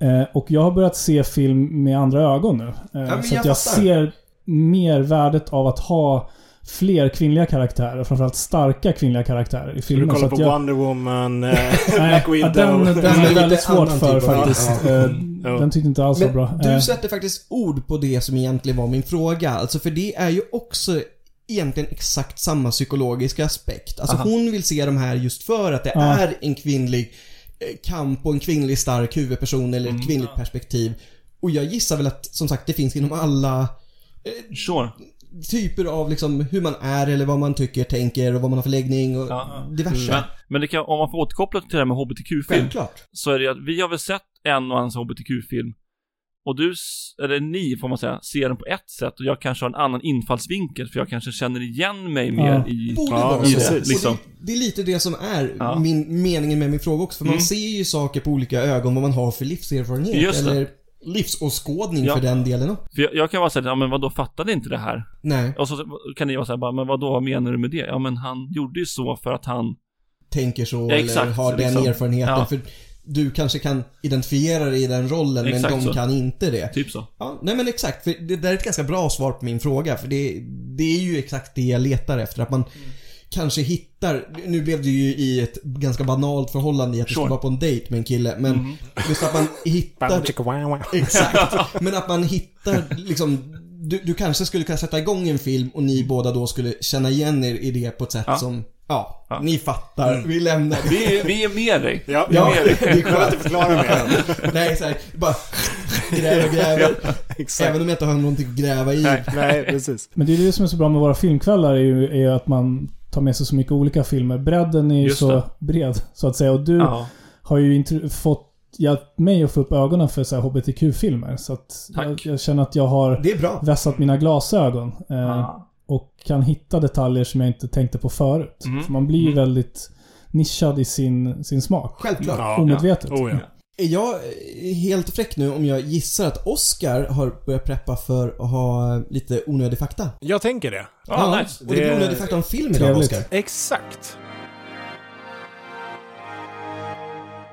Eh, och jag har börjat se film med andra ögon nu. Eh, men så att jag jag fattar. ser mer värdet av att ha fler kvinnliga karaktärer, framförallt starka kvinnliga karaktärer i Vill du filmen. kolla att på Wonder Woman, eh, Nej, Black ja, Widow? den, den är är lite väldigt svårt annan för typ av- faktiskt. Ja. Eh, Ja. Den tyckte inte alls var Men bra. Eh, du sätter faktiskt ord på det som egentligen var min fråga. Alltså för det är ju också egentligen exakt samma psykologiska aspekt. Alltså Aha. hon vill se de här just för att det Ja. är en kvinnlig eh, kamp och en kvinnlig stark huvudperson eller ett Mm. kvinnligt perspektiv. Och jag gissar väl att som sagt det finns inom alla Sure. typer av liksom hur man är eller vad man tycker, tänker och vad man har för läggning och Ja. diverse. Mm. Men, men det kan, om man får återkoppla till det här med hbtq-film, Självklart. så är det ju att vi har väl sett en och annan hbtq-film. Och du, s- eller ni får man säga, ser den på ett sätt och jag kanske har en annan infallsvinkel för jag kanske känner igen mig mer Ja. i... Borde Ja, vara precis. så. Liksom. Och det, det är lite det som är Ja. min, meningen med min fråga också. För man Mm. ser ju saker på olika ögon, vad man har för livserfarenhet. Just det. Eller livsåskådning Ja. för den delen också. För jag, jag kan vara såhär, ja men vadå fattade inte det här? Nej, Och så kan ni vara såhär, bara, men vadå, vad menar du med det? Ja men han gjorde ju så för att han... tänker så Ja, exakt, eller har den liksom. erfarenheten. Ja. För du kanske kan identifiera dig i den rollen, Exakt men de så. kan inte det. Typ så. Ja, nej men exakt. För det där är ett ganska bra svar på min fråga. För det, det är ju exakt det jag letar efter. Att man Mm. kanske hittar... Nu blev det ju i ett ganska banalt förhållande i att du Sure. Mm. ska vara på en dejt med en kille. Men just att man Bam, hittar... chicka, wow, wow. exakt. Men att man hittar liksom... Du, du kanske skulle kunna sätta igång en film och ni båda då skulle känna igen er i det på ett sätt Ja. som... Ja, Ja. Mm. ni fattar. Vi lämnar det. Vi, är- vi är med dig. Ja, Ja, jag det är behöver skönt. inte förklara mer. Nej, såhär, bara gräver, gräver. Exakt. Även om jag inte har någonting att gräva i. Nej, nej, precis. Men det är det som är så bra med våra filmkvällar är ju är ju att man tar med sig så mycket olika filmer. Bredden är ju Just så det. bred, så att säga. Och du Ja. har ju intro- fått hjälpt mig att få upp ögonen för så här HBTQ-filmer. Så att jag, Tack. jag känner att jag har Det är bra. vässat mina glasögon. Eh, Ja. Och kan hitta detaljer som jag inte tänkte på förut. Mm. För man blir ju väldigt nischad i sin, sin smak. Självklart. Omedvetet. Ja. Oh, ja. Är jag eh, helt fräck nu om jag gissar att Oscar har börjat preppa för att ha lite onödig fakta? Jag tänker det. Ja, nice. Och det blir Det- onödig fakta om film idag, Trevligt. Oscar. Exakt.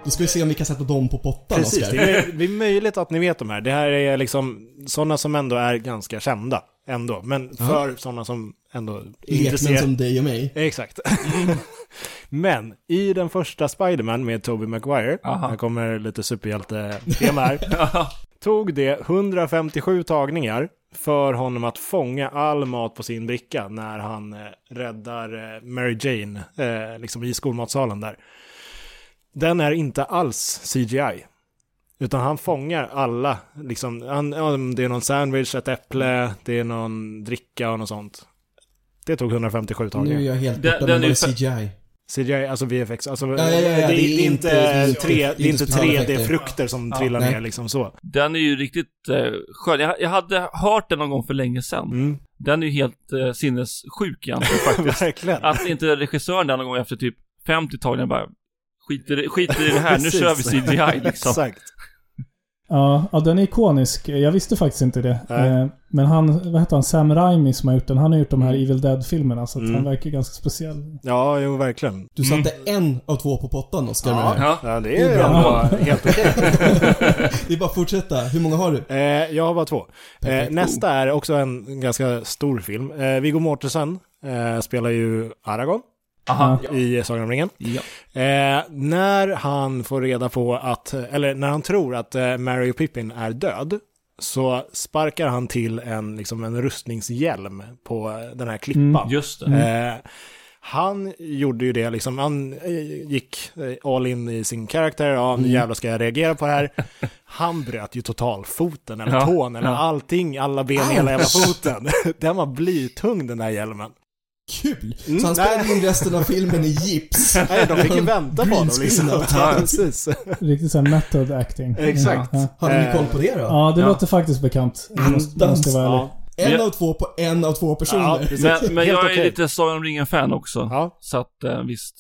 Då ska vi se om vi kan sätta dem på pottan, Precis. Oscar. Det är, det är möjligt att ni vet de här. Det här är liksom sådana som ändå är ganska kända. Ändå. Men Ja. för sådana som ändå är Lekmän intresserade. som dig och mig. Exakt. Men i den första Spiderman med Tobey Maguire, Aha. här kommer lite superhjälte-tema här, tog det 157 tagningar för honom att fånga all mat på sin bricka när han eh, räddar eh, Mary Jane eh, liksom i skolmatsalen där. Den är inte alls CGI. Utan han fångar alla, liksom, han, ja, det är någon sandwich, ett äpple, det är någon dricka och något sånt. Det tog 157 Nu tagningar. är jag helt Den- borta den med är vad är CGI. CGI, alltså VFX, alltså, ja, ja, ja, det, är inte, det är inte, tre, det är inte specialeffekter. 3D-frukter som Ja. trillar Nej. ner liksom så. Den är ju riktigt eh, skön. Jag, jag hade hört den någon gång för länge sedan. Mm. Den är ju helt eh, sinnessjuk egentligen faktiskt. Verkligen. Att inte regissören där någon gång efter typ 50 tagningar bara skiter, i- skiter i det här, nu Precis. kör vi CGI liksom. Exakt. Ja, ja, den är ikonisk. Jag visste faktiskt inte det. Nej. Eh, Men han, vad heter han, Sam Raimi som har gjort den, han har gjort de här Evil Dead-filmerna. Så att Mm. han verkar ganska speciell. Ja, jo, verkligen. Du satte en av två på pottan, Oscar. med det här. Ja. Ja, det Det är är bra. ändå helt okej. Det är bara att fortsätta. Hur många har du? Eh, jag har bara två. Eh, Perfekt. nästa är också en ganska stor film. Eh, Viggo Mortensen eh, spelar ju Aragorn Aha. i Sagan om ringen. Ja. Eh, när han får reda på att, eller när han tror att eh, Mary och Pippin är död, så sparkar han till en, liksom en rustningshjälm på eh, den här klippan. Just det. Eh, han gjorde ju det, liksom, han eh, gick eh, all in i sin karaktär, ja Mm. nu jävlar ska jag reagera på det här. Han bröt ju total foten eller Ja, tån eller ja. allting, alla ben, hela jävla foten. den var blytung den där hjälmen. Kul! Mm, Så han nej. spelade in resten av filmen i gips. Nej, de fick ju vänta på honom liksom. Greenscreenat. Ja, precis. Riktigt såhär method acting. Exakt. Ja, Hade ni Eh, koll på det då? ja det Ja. låter faktiskt bekant. Jag måste, måste vara ärlig. Ja, En Men- av två på en av två ja, personer. precis. Men, men Helt jag är okej. lite Sagan om ringen-fan också. Ja, Så att eh, visst.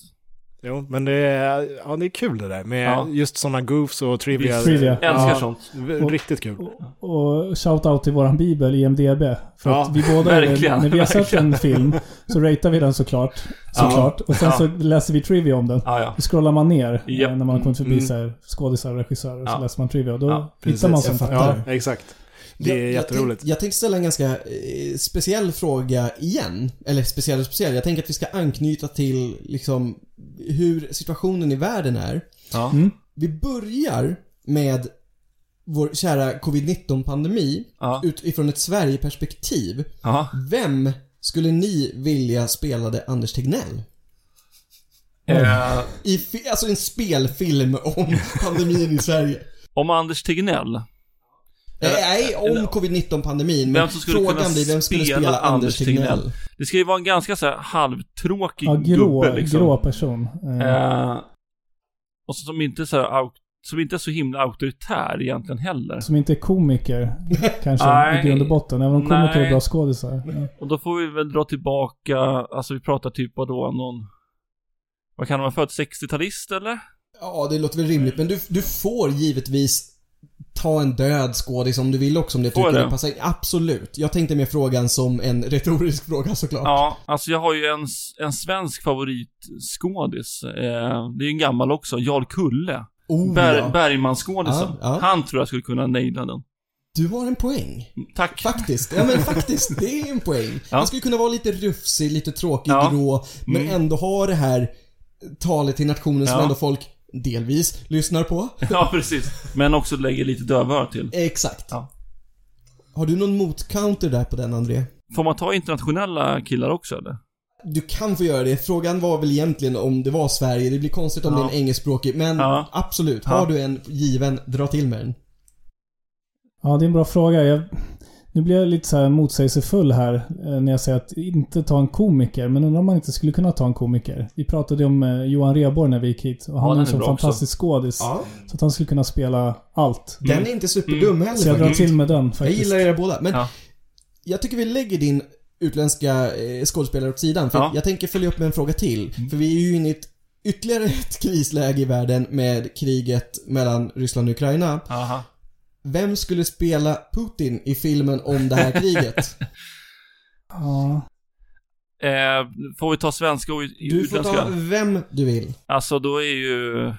jo, men det är, ja, det är kul det där med Ja. just sådana goofs och trivia. Trivia. Älskar Ja, sånt. Riktigt kul. Och shout-out till våran bibel, IMDB. För Ja, att vi båda, verkligen, när vi har sett verkligen. en film, så ratear vi den såklart. Såklart. Och sen Ja. så läser vi trivia om den. Ja, ja. Då scrollar man ner Japp. eh, när man har kommit förbi Mm. så här, skådisar och regissörer. Och så Ja. läser man trivia. Och då Ja, hittar man precis. sånt Jag här. Ja, fattar. exakt. Det är Jag- jag jätteroligt. tänk- Jag tänkte ställa en ganska eh, speciell fråga igen. Eller speciell och speciell. Jag tänker att vi ska anknyta till liksom hur situationen i världen är. Ja. Mm. Vi börjar med vår kära covid-19 pandemi Ja. utifrån ett Sverigeperspektiv. Ja. Vem skulle ni vilja spelade Anders Tegnell? Eh, I fi- alltså en spelfilm om pandemin i Sverige. om Anders Tegnell. Nej, nej om covid-19-pandemin. Men Vem som skulle frågan kunna blir vem skulle spela spela Anders Anders Tegnell? Tegnell? Det ska ju vara en ganska så här halvtråkig Ja, grå, gubbe liksom. grå person. Eh, Eh, och så, som inte så här, au- som inte är så himla auktoritär egentligen heller. Som inte är komiker, kanske, Nej. i grund och botten. Även om komiker Nej. är bra skådisar. Ja. Och då får vi väl dra tillbaka, alltså vi pratar typ vad då någon, vad kan man född 60-talist eller? Ja, det låter väl rimligt. Men du, du får givetvis ta en död skådis om du vill också om det Får tycker det jag det? passar. Absolut. Jag tänkte mer frågan som en retorisk fråga såklart. Ja, alltså jag har ju en, s- en svensk favoritskådis. Eh, det är ju en gammal också, Jarl Kulle. Oh, Ber, ja. Bergmansskådisen. Ja, ja. Han tror jag skulle kunna naila den. Du har en poäng. Tack. Faktiskt. Ja men faktiskt, det är en poäng. Ja. Han skulle kunna vara lite rufsig, lite tråkig, Ja. grå, men Mm. ändå ha det här talet till nationen som Ja. ändå folk delvis lyssnar på. Ja, precis. Men också lägger lite dövöra till. Exakt. Ja. Har du någon motcounter där på den, André? Får man ta internationella killar också eller? Du kan få göra det. Frågan var väl egentligen om det var Sverige. Det blir konstigt om Ja. det är en engelskspråkig, men Ja. absolut. Ja. Har du en given, dra till med den. Ja, det är en bra fråga. Jag, nu blir jag lite så här motsägelsefull här eh, när jag säger att inte ta en komiker. Men undrar om man inte skulle kunna ta en komiker. Vi pratade ju om eh, Johan Rheborg när vi gick hit. Och han den är en är sån bra också. fantastisk skådis. Så att han skulle kunna spela allt. Den är inte superdum heller Så jag drar faktiskt. till med den Jag faktiskt. gillar era båda, men Ja. jag tycker vi lägger din utländska eh, skådespelare åt sidan. För Ja. jag tänker följa upp med en fråga till. För vi är ju inne i ett, ytterligare ett krisläge i världen med kriget mellan Ryssland och Ukraina. Aha. Vem skulle spela Putin i filmen om det här kriget? Ja. Eh, får vi ta svenska och ut- Du får utländska? ta vem du vill. Alltså då är ju...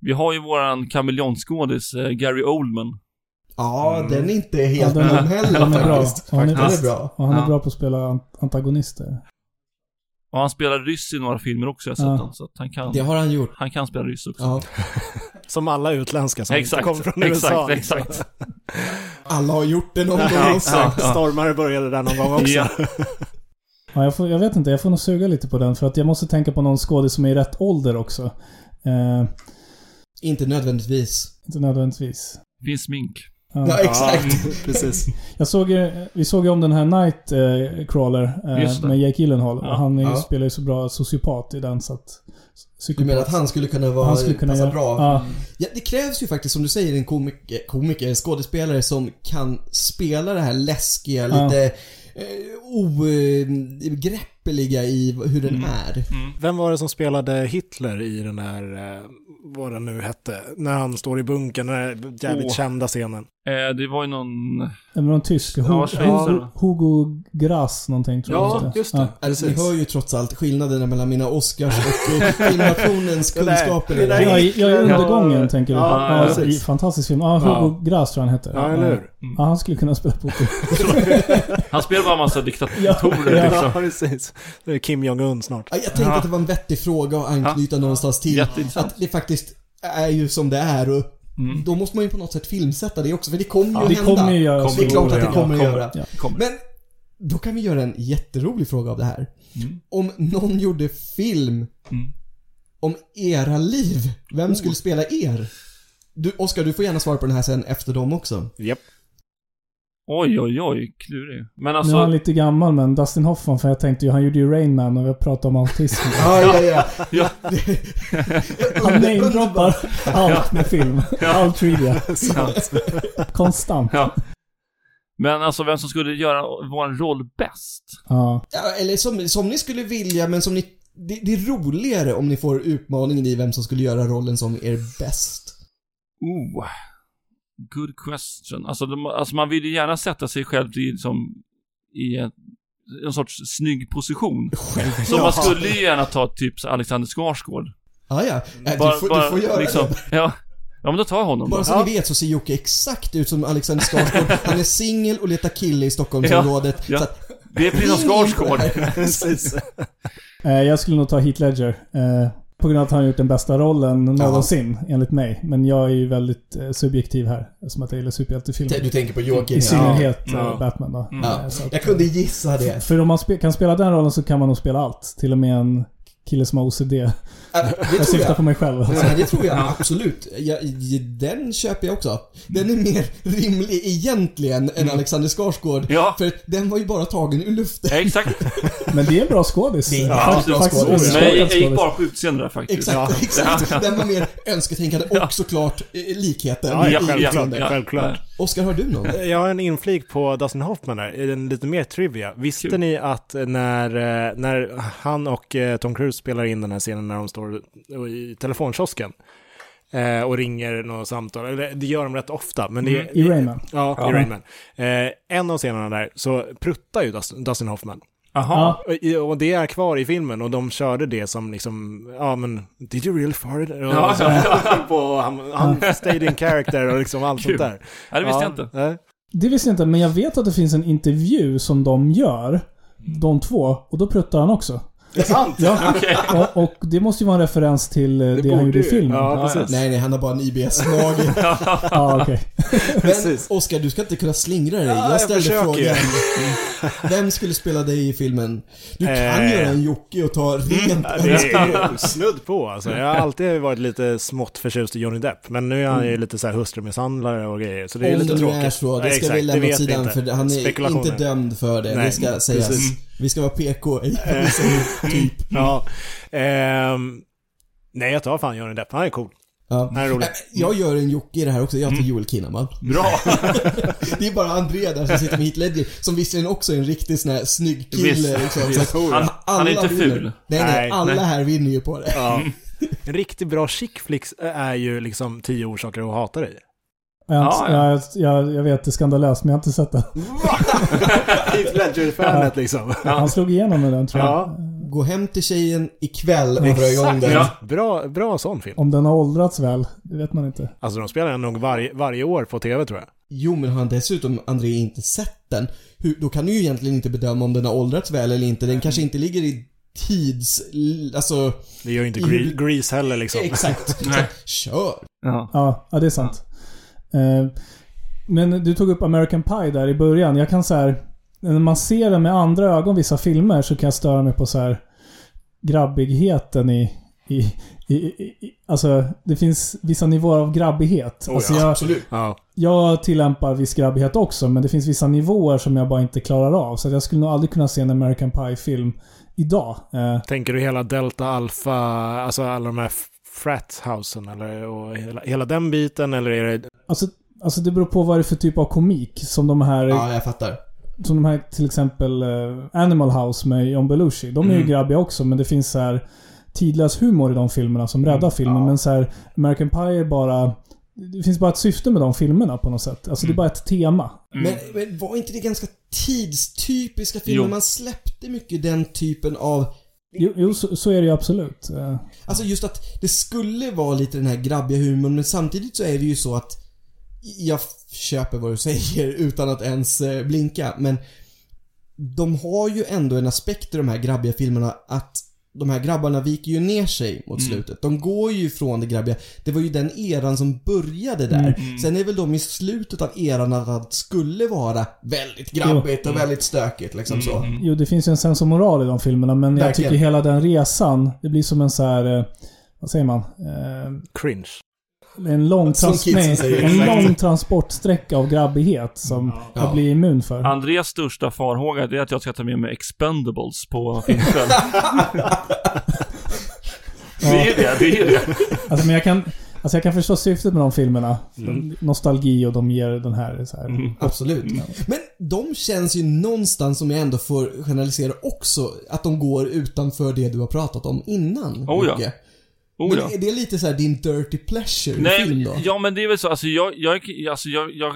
Vi har ju våran kameleontskådis eh, Gary Oldman. Ja, Mm. den är inte helt Ja, dum den är- heller den är bra. faktiskt. Ja, den är Den är bra. bra. Och han är Ja. bra på att spela an- antagonister. Och han spelar ryss i några filmer också, jag har sett Ja. den. Så att han kan, Det har han gjort. han kan spela ryss också. Ja. Som alla utländska som exakt, inte kom från USA. exakt, liksom. exakt. Alla har gjort det någon gång Ja, också. exakt. Ja. Stormare började där någon gång också. Ja. Ja, jag, får, jag vet inte, jag får nog suga lite på den. För att jag måste tänka på någon skådis som är i rätt ålder också. Eh, Inte nödvändigtvis. inte nödvändigtvis. Finns mink. Ja. Ja, exakt. Ja, mm, precis. Jag såg, ju- vi såg ju om den här Nightcrawler Just eh, det. med Jake Gyllenhaal. Ja. Och han är, ju- Ja. spelar ju så bra sociopat i den så att... Du menar att han skulle kunna vara, han skulle kunna passa bra? Ja, Ja, det krävs ju faktiskt som du säger en komiker, komiker skådespelare som kan spela det här läskiga, Ja. lite eh, ogreppeliga i hur den Mm. är. Vem var det som spelade Hitler i den där, eh, vad den nu hette, när han står i bunkern, den där jävligt Åh. kända scenen. Eh, det var ju någon... men någon tysk. Hu- Ja, schweizare. Hu- Hugo Grass någonting tror jag. Ja. Alltså, ni hör ju trots allt skillnaderna mellan mina Oscars och eh, filmnationens Det där- kunskaper. det där Ja, är- i- ja, i undergången Ja. tänker du. Ja, Ja, precis. i- fantastisk film. Ja, Hugo Grass tror jag han hette. Ja, eller hur? Ja, han skulle kunna spela Putin. Han spelar bara en massa diktatorer Ja. Ja, liksom. precis. Nu är Kim Jong-Un snart. Ja, jag tänkte att det var en vettig fråga att anknyta någonstans till. Jätteintressant. Att det faktiskt är ju som det är och Mm. då måste man ju på något sätt filmsätta det också för det kommer ju det hända. kommer ju göra Det är klart att det Ja, kommer att göra. Ja. Kommer. Men då kan vi göra en jätterolig fråga av det här. Mm. Om någon gjorde film Mm. om era liv, vem skulle spela er? Du, Oskar, du får gärna svara på den här sen efter dem också. Japp. Oj, oj, oj. Klurig. Men Nu är alltså... han lite gammal men Dustin Hoffman, för jag tänkte ju, han gjorde ju Rain Man och vi har pratat om autism. Ja, ja, ja. Ja. Han namedroppar allt med film. All trivia. Konstant. Ja. Men alltså vem som skulle göra vår roll bäst? Ja. Ja, Eller som, som ni skulle vilja, men som ni... Det, det är roligare om ni får utmaningen i vem som skulle göra rollen som er bäst. Oh. Good question. Alltså, de, alltså man vill ju gärna sätta sig själv i, liksom, i en, en sorts snygg position. Så man skulle ju gärna ta typ så Alexander Skarsgård. Ah, ja, ja. Bara- du, får, bara du får göra liksom, det. Ja. ja, men då tar jag honom då. Bara så ni vet så ser Jocke exakt ut som Alexander Skarsgård. Han är singel och letar kille i Stockholmsområdet. Ja, ja. Så att, Det är precis som Skarsgård. Precis. Eh, Jag skulle nog ta Heath Ledger. eh, På grund av att han har gjort den bästa rollen någonsin, enligt mig. Men jag är ju väldigt eh, subjektiv här, som att jag gillar superhjältefilmer. du tänker på Joakim. I synnerhet Ja. eh, Ja. Batman då. Mm. Ja, Eh, så att- jag kunde gissa det. För om man spe- kan spela den rollen så kan man nog spela allt. Till och med en kille som har OCD. Äh, det Jag tror syftar jag. på mig själv. Alltså. Nej, det tror jag absolut. Jag, den köper jag också. Den är mer rimlig egentligen än Mm. Alexander Skarsgård. Ja. För den var ju bara tagen ur luften. Exakt. Men det är en bra skådis. Det är en Faktiskt- bra faktiskt skådis. en Men jag, överskattad jag gick skådis. bara på utseende där faktiskt. Exakt, exakt. Ja. Den var mer önsketänkande och såklart eh, likheten. Ja, ja, i självklart. utseende. ja. självklart. Oskar, har du någon? Jag har en inflik på Dustin Hoffman här, en lite mer trivia. Visste Kul. ni att när, eh, när han och eh, Tom Cruise spelar in den här scenen när de står i telefonkiosken eh, och ringer något samtal, eller det gör de rätt ofta, men det... I Rayman. Ja, Ja. i Rain Man. Eh, en av scenerna där så pruttar ju Dustin, Dustin Hoffman. Jaha. Ja. Och, i- och det är kvar i filmen och de körde det som liksom, ja men, did you really fart? it? Och, Ja. så, höll på, och han, han stayed in character och liksom allt Kul. sånt där. Nej, det visste ja, jag inte. nej. Det visste jag inte, men jag vet att det finns en intervju som de gör. De två. Och då pruttar han också. Det är sant! Ja, Okej. och, och det måste ju vara en referens till eh, det, han borde gjorde i ju. filmen. Ja, precis. Nej, nej, han har bara en IBS-mage. Ja, okej. Men Precis. Oskar, du ska inte kunna slingra dig. Ja, Jag jag ställde försöker ju. frågan. Vem skulle spela dig i filmen? Du kan Eh. göra en Jocke och ta rent Ja, Det är ju snudd på alltså. Jag har alltid varit lite smått förtjust i Johnny Depp. Men nu är han ju lite så här hustrumisshandlare och grejer. Så det är Mm. Om lite det nu är tråkigt. så, det Ja, ska exakt, vi det lämna åt vet vi sidan inte. för han är Spekulationer. inte dömd för det. det Nej, ska sägas. precis. Vi ska vara PK ej Eh, typ. ja. Ehm, nej, jag tar fan Johnny Depp. Han är cool. Ja. Han är Mm. rolig. Äh, Jag gör en Jocke i det här också. Jag tar Joel Kinnaman. Bra. Det är bara André där som sitter med Heath Ledger, som visserligen också är en riktig sån här snygg Visst. kille. Liksom. Så att Han, han är alla inte vinner. ful. Nej, nej, Nej, alla nej. här vinner ju på det. Ja. En riktigt bra chick flicks är ju liksom tio orsaker att hata dig. Jag, har Ja, inte- ja. jag, jag, jag vet, det är skandalöst, men jag har inte sett det. Heath Ledger-fanet liksom. Han slog igenom med den tror jag. Ja. Gå hem till tjejen ikväll och dra igång Exakt. den. Ja. Bra, bra sån film. Om den har åldrats väl, det vet man inte. Alltså de spelar den nog varje, varje år på tv tror jag. Jo, men har han dessutom, André, inte sett den, hur, då kan du ju egentligen inte bedöma om den har åldrats väl eller inte. Den kanske inte ligger i tids... Alltså, Det gör ju inte I Gre- huvud- Grease heller liksom. exakt. Så, Nej. Kör! Ja. Ja, ja det är sant. Eh, Men du tog upp American Pie där i början. Jag kan så här, när man ser den med andra ögon, vissa filmer, så kan jag störa mig på så här grabbigheten i... i, i, i, i alltså, det finns vissa nivåer av grabbighet. Oh, alltså, ja. jag, Absolut. Ja. jag tillämpar viss grabbighet också, men det finns vissa nivåer som jag bara inte klarar av. Så att jag skulle nog aldrig kunna se en American Pie-film idag. Eh, Tänker du hela Delta Alpha, alltså alla de här f- frathousen eller och hela, hela den biten eller är det... alltså, alltså, det beror på vad det är för typ av komik. Som de här Ja, jag fattar. Som de här till exempel eh, Animal House med John Belushi. De är ju Mm. grabbiga också men det finns så här tidlös humor i de filmerna som Mm. räddar filmen. Men så här, American Pie är bara... Det finns bara ett syfte med de filmerna på något sätt. Alltså Mm. det är bara ett tema. Men, men var inte det ganska tidstypiska filmer? Mm. Jo. Man släppte mycket den typen av Jo, jo så, så är det ju absolut. Eh, Alltså just att det skulle vara lite den här grabbiga humorn men samtidigt så är det ju så att jag f- köper vad du säger utan att ens eh, blinka men de har ju ändå en aspekt i de här grabbiga filmerna att de här grabbarna viker ju ner sig mot slutet. De går ju från det grabbiga. Det var ju den eran som började där. Sen är väl de i slutet av eran att allt skulle vara väldigt grabbigt och väldigt stökigt liksom så. Jo, det finns ju en sens och moral i de filmerna men jag Verkligen. tycker hela den resan, det blir som en så här... eh, Vad säger man? Eh, Cringe. En lång, Som trans- kidsen nej, säger, en exakt. lång transportsträcka av grabbighet som Ja. jag blir immun för. Andreas största farhåga det är att jag ska ta med mig Expendables på filmkväll. Det är det, det är det. Alltså, men jag kan, alltså jag kan förstå syftet med de filmerna. Nostalgi och de ger den här... Så här. Mm. Absolut. Men de känns ju någonstans, som jag ändå får generalisera också, att de går utanför det du har pratat om innan. Oh ja. Micke. Oh, Men ja. är det lite så här din dirty pleasure film Nej, då? ja men det är väl så, alltså jag, jag, alltså jag, jag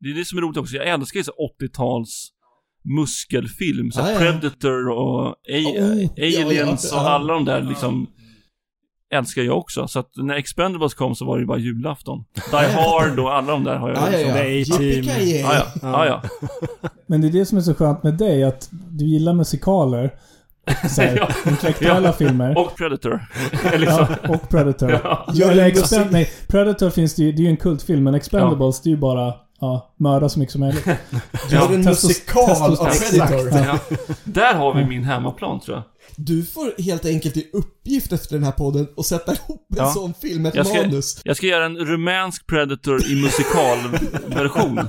det är det som är roligt också, jag älskar ju så 80-tals muskelfilm, så här Ah, ja. Predator och A- Oh, Aliens ja, Ah. ja. och alla de där liksom älskar jag också. Så att när Expendables kom så var det ju bara julafton. Die Hard och alla de där har jag Ah, Ja, ja, ja. liksom. det är A-Team. Yippee-ki-yay. Ah, Ja, ja. ja, ja. Men det är det som är så skönt med dig, att du gillar musikaler. och Så här, Ja. Intellektuella Ja. filmer. Och Predator. liksom. Ja, och Predator. Gör Eller det Expend- musik. nej, Predator finns det ju, det är ju en kultfilm, men Expendables det är ju bara ja, mörda så mycket som möjligt. Gör en testos- musikal av testos- Predator. exakt, ja. Där har vi min hemmaplan tror jag. Du får helt enkelt i uppgift efter den här podden att sätta ihop en Ja. sån film, ett Jag ska- manus. Jag ska göra en rumänsk Predator i musikalversion. Ska Som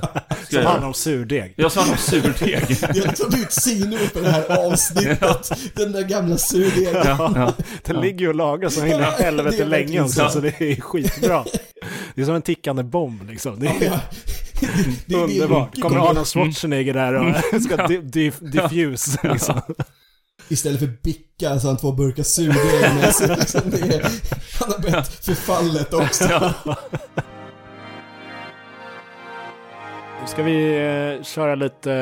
jag handlar göra. om surdeg. Jag sa någon surdeg. Vi har liksom bytt sinor på det här avsnittet. Den där gamla surdegen. Ja, ja. Den ligger ju och lagras så in i Ja, det helvete är länge verkligen också, så det är skitbra. Det är som en tickande bomb liksom. Det är Ja. Det är det underbart. Jocke Kommer kommer Arnold Schwarzenegger där Mm. och ska di- di- diffuse liksom. Istället för bicka så har han två burkar surdeg med sig. Liksom det är, han har bett förfallet också. Ja. Ska vi eh, köra lite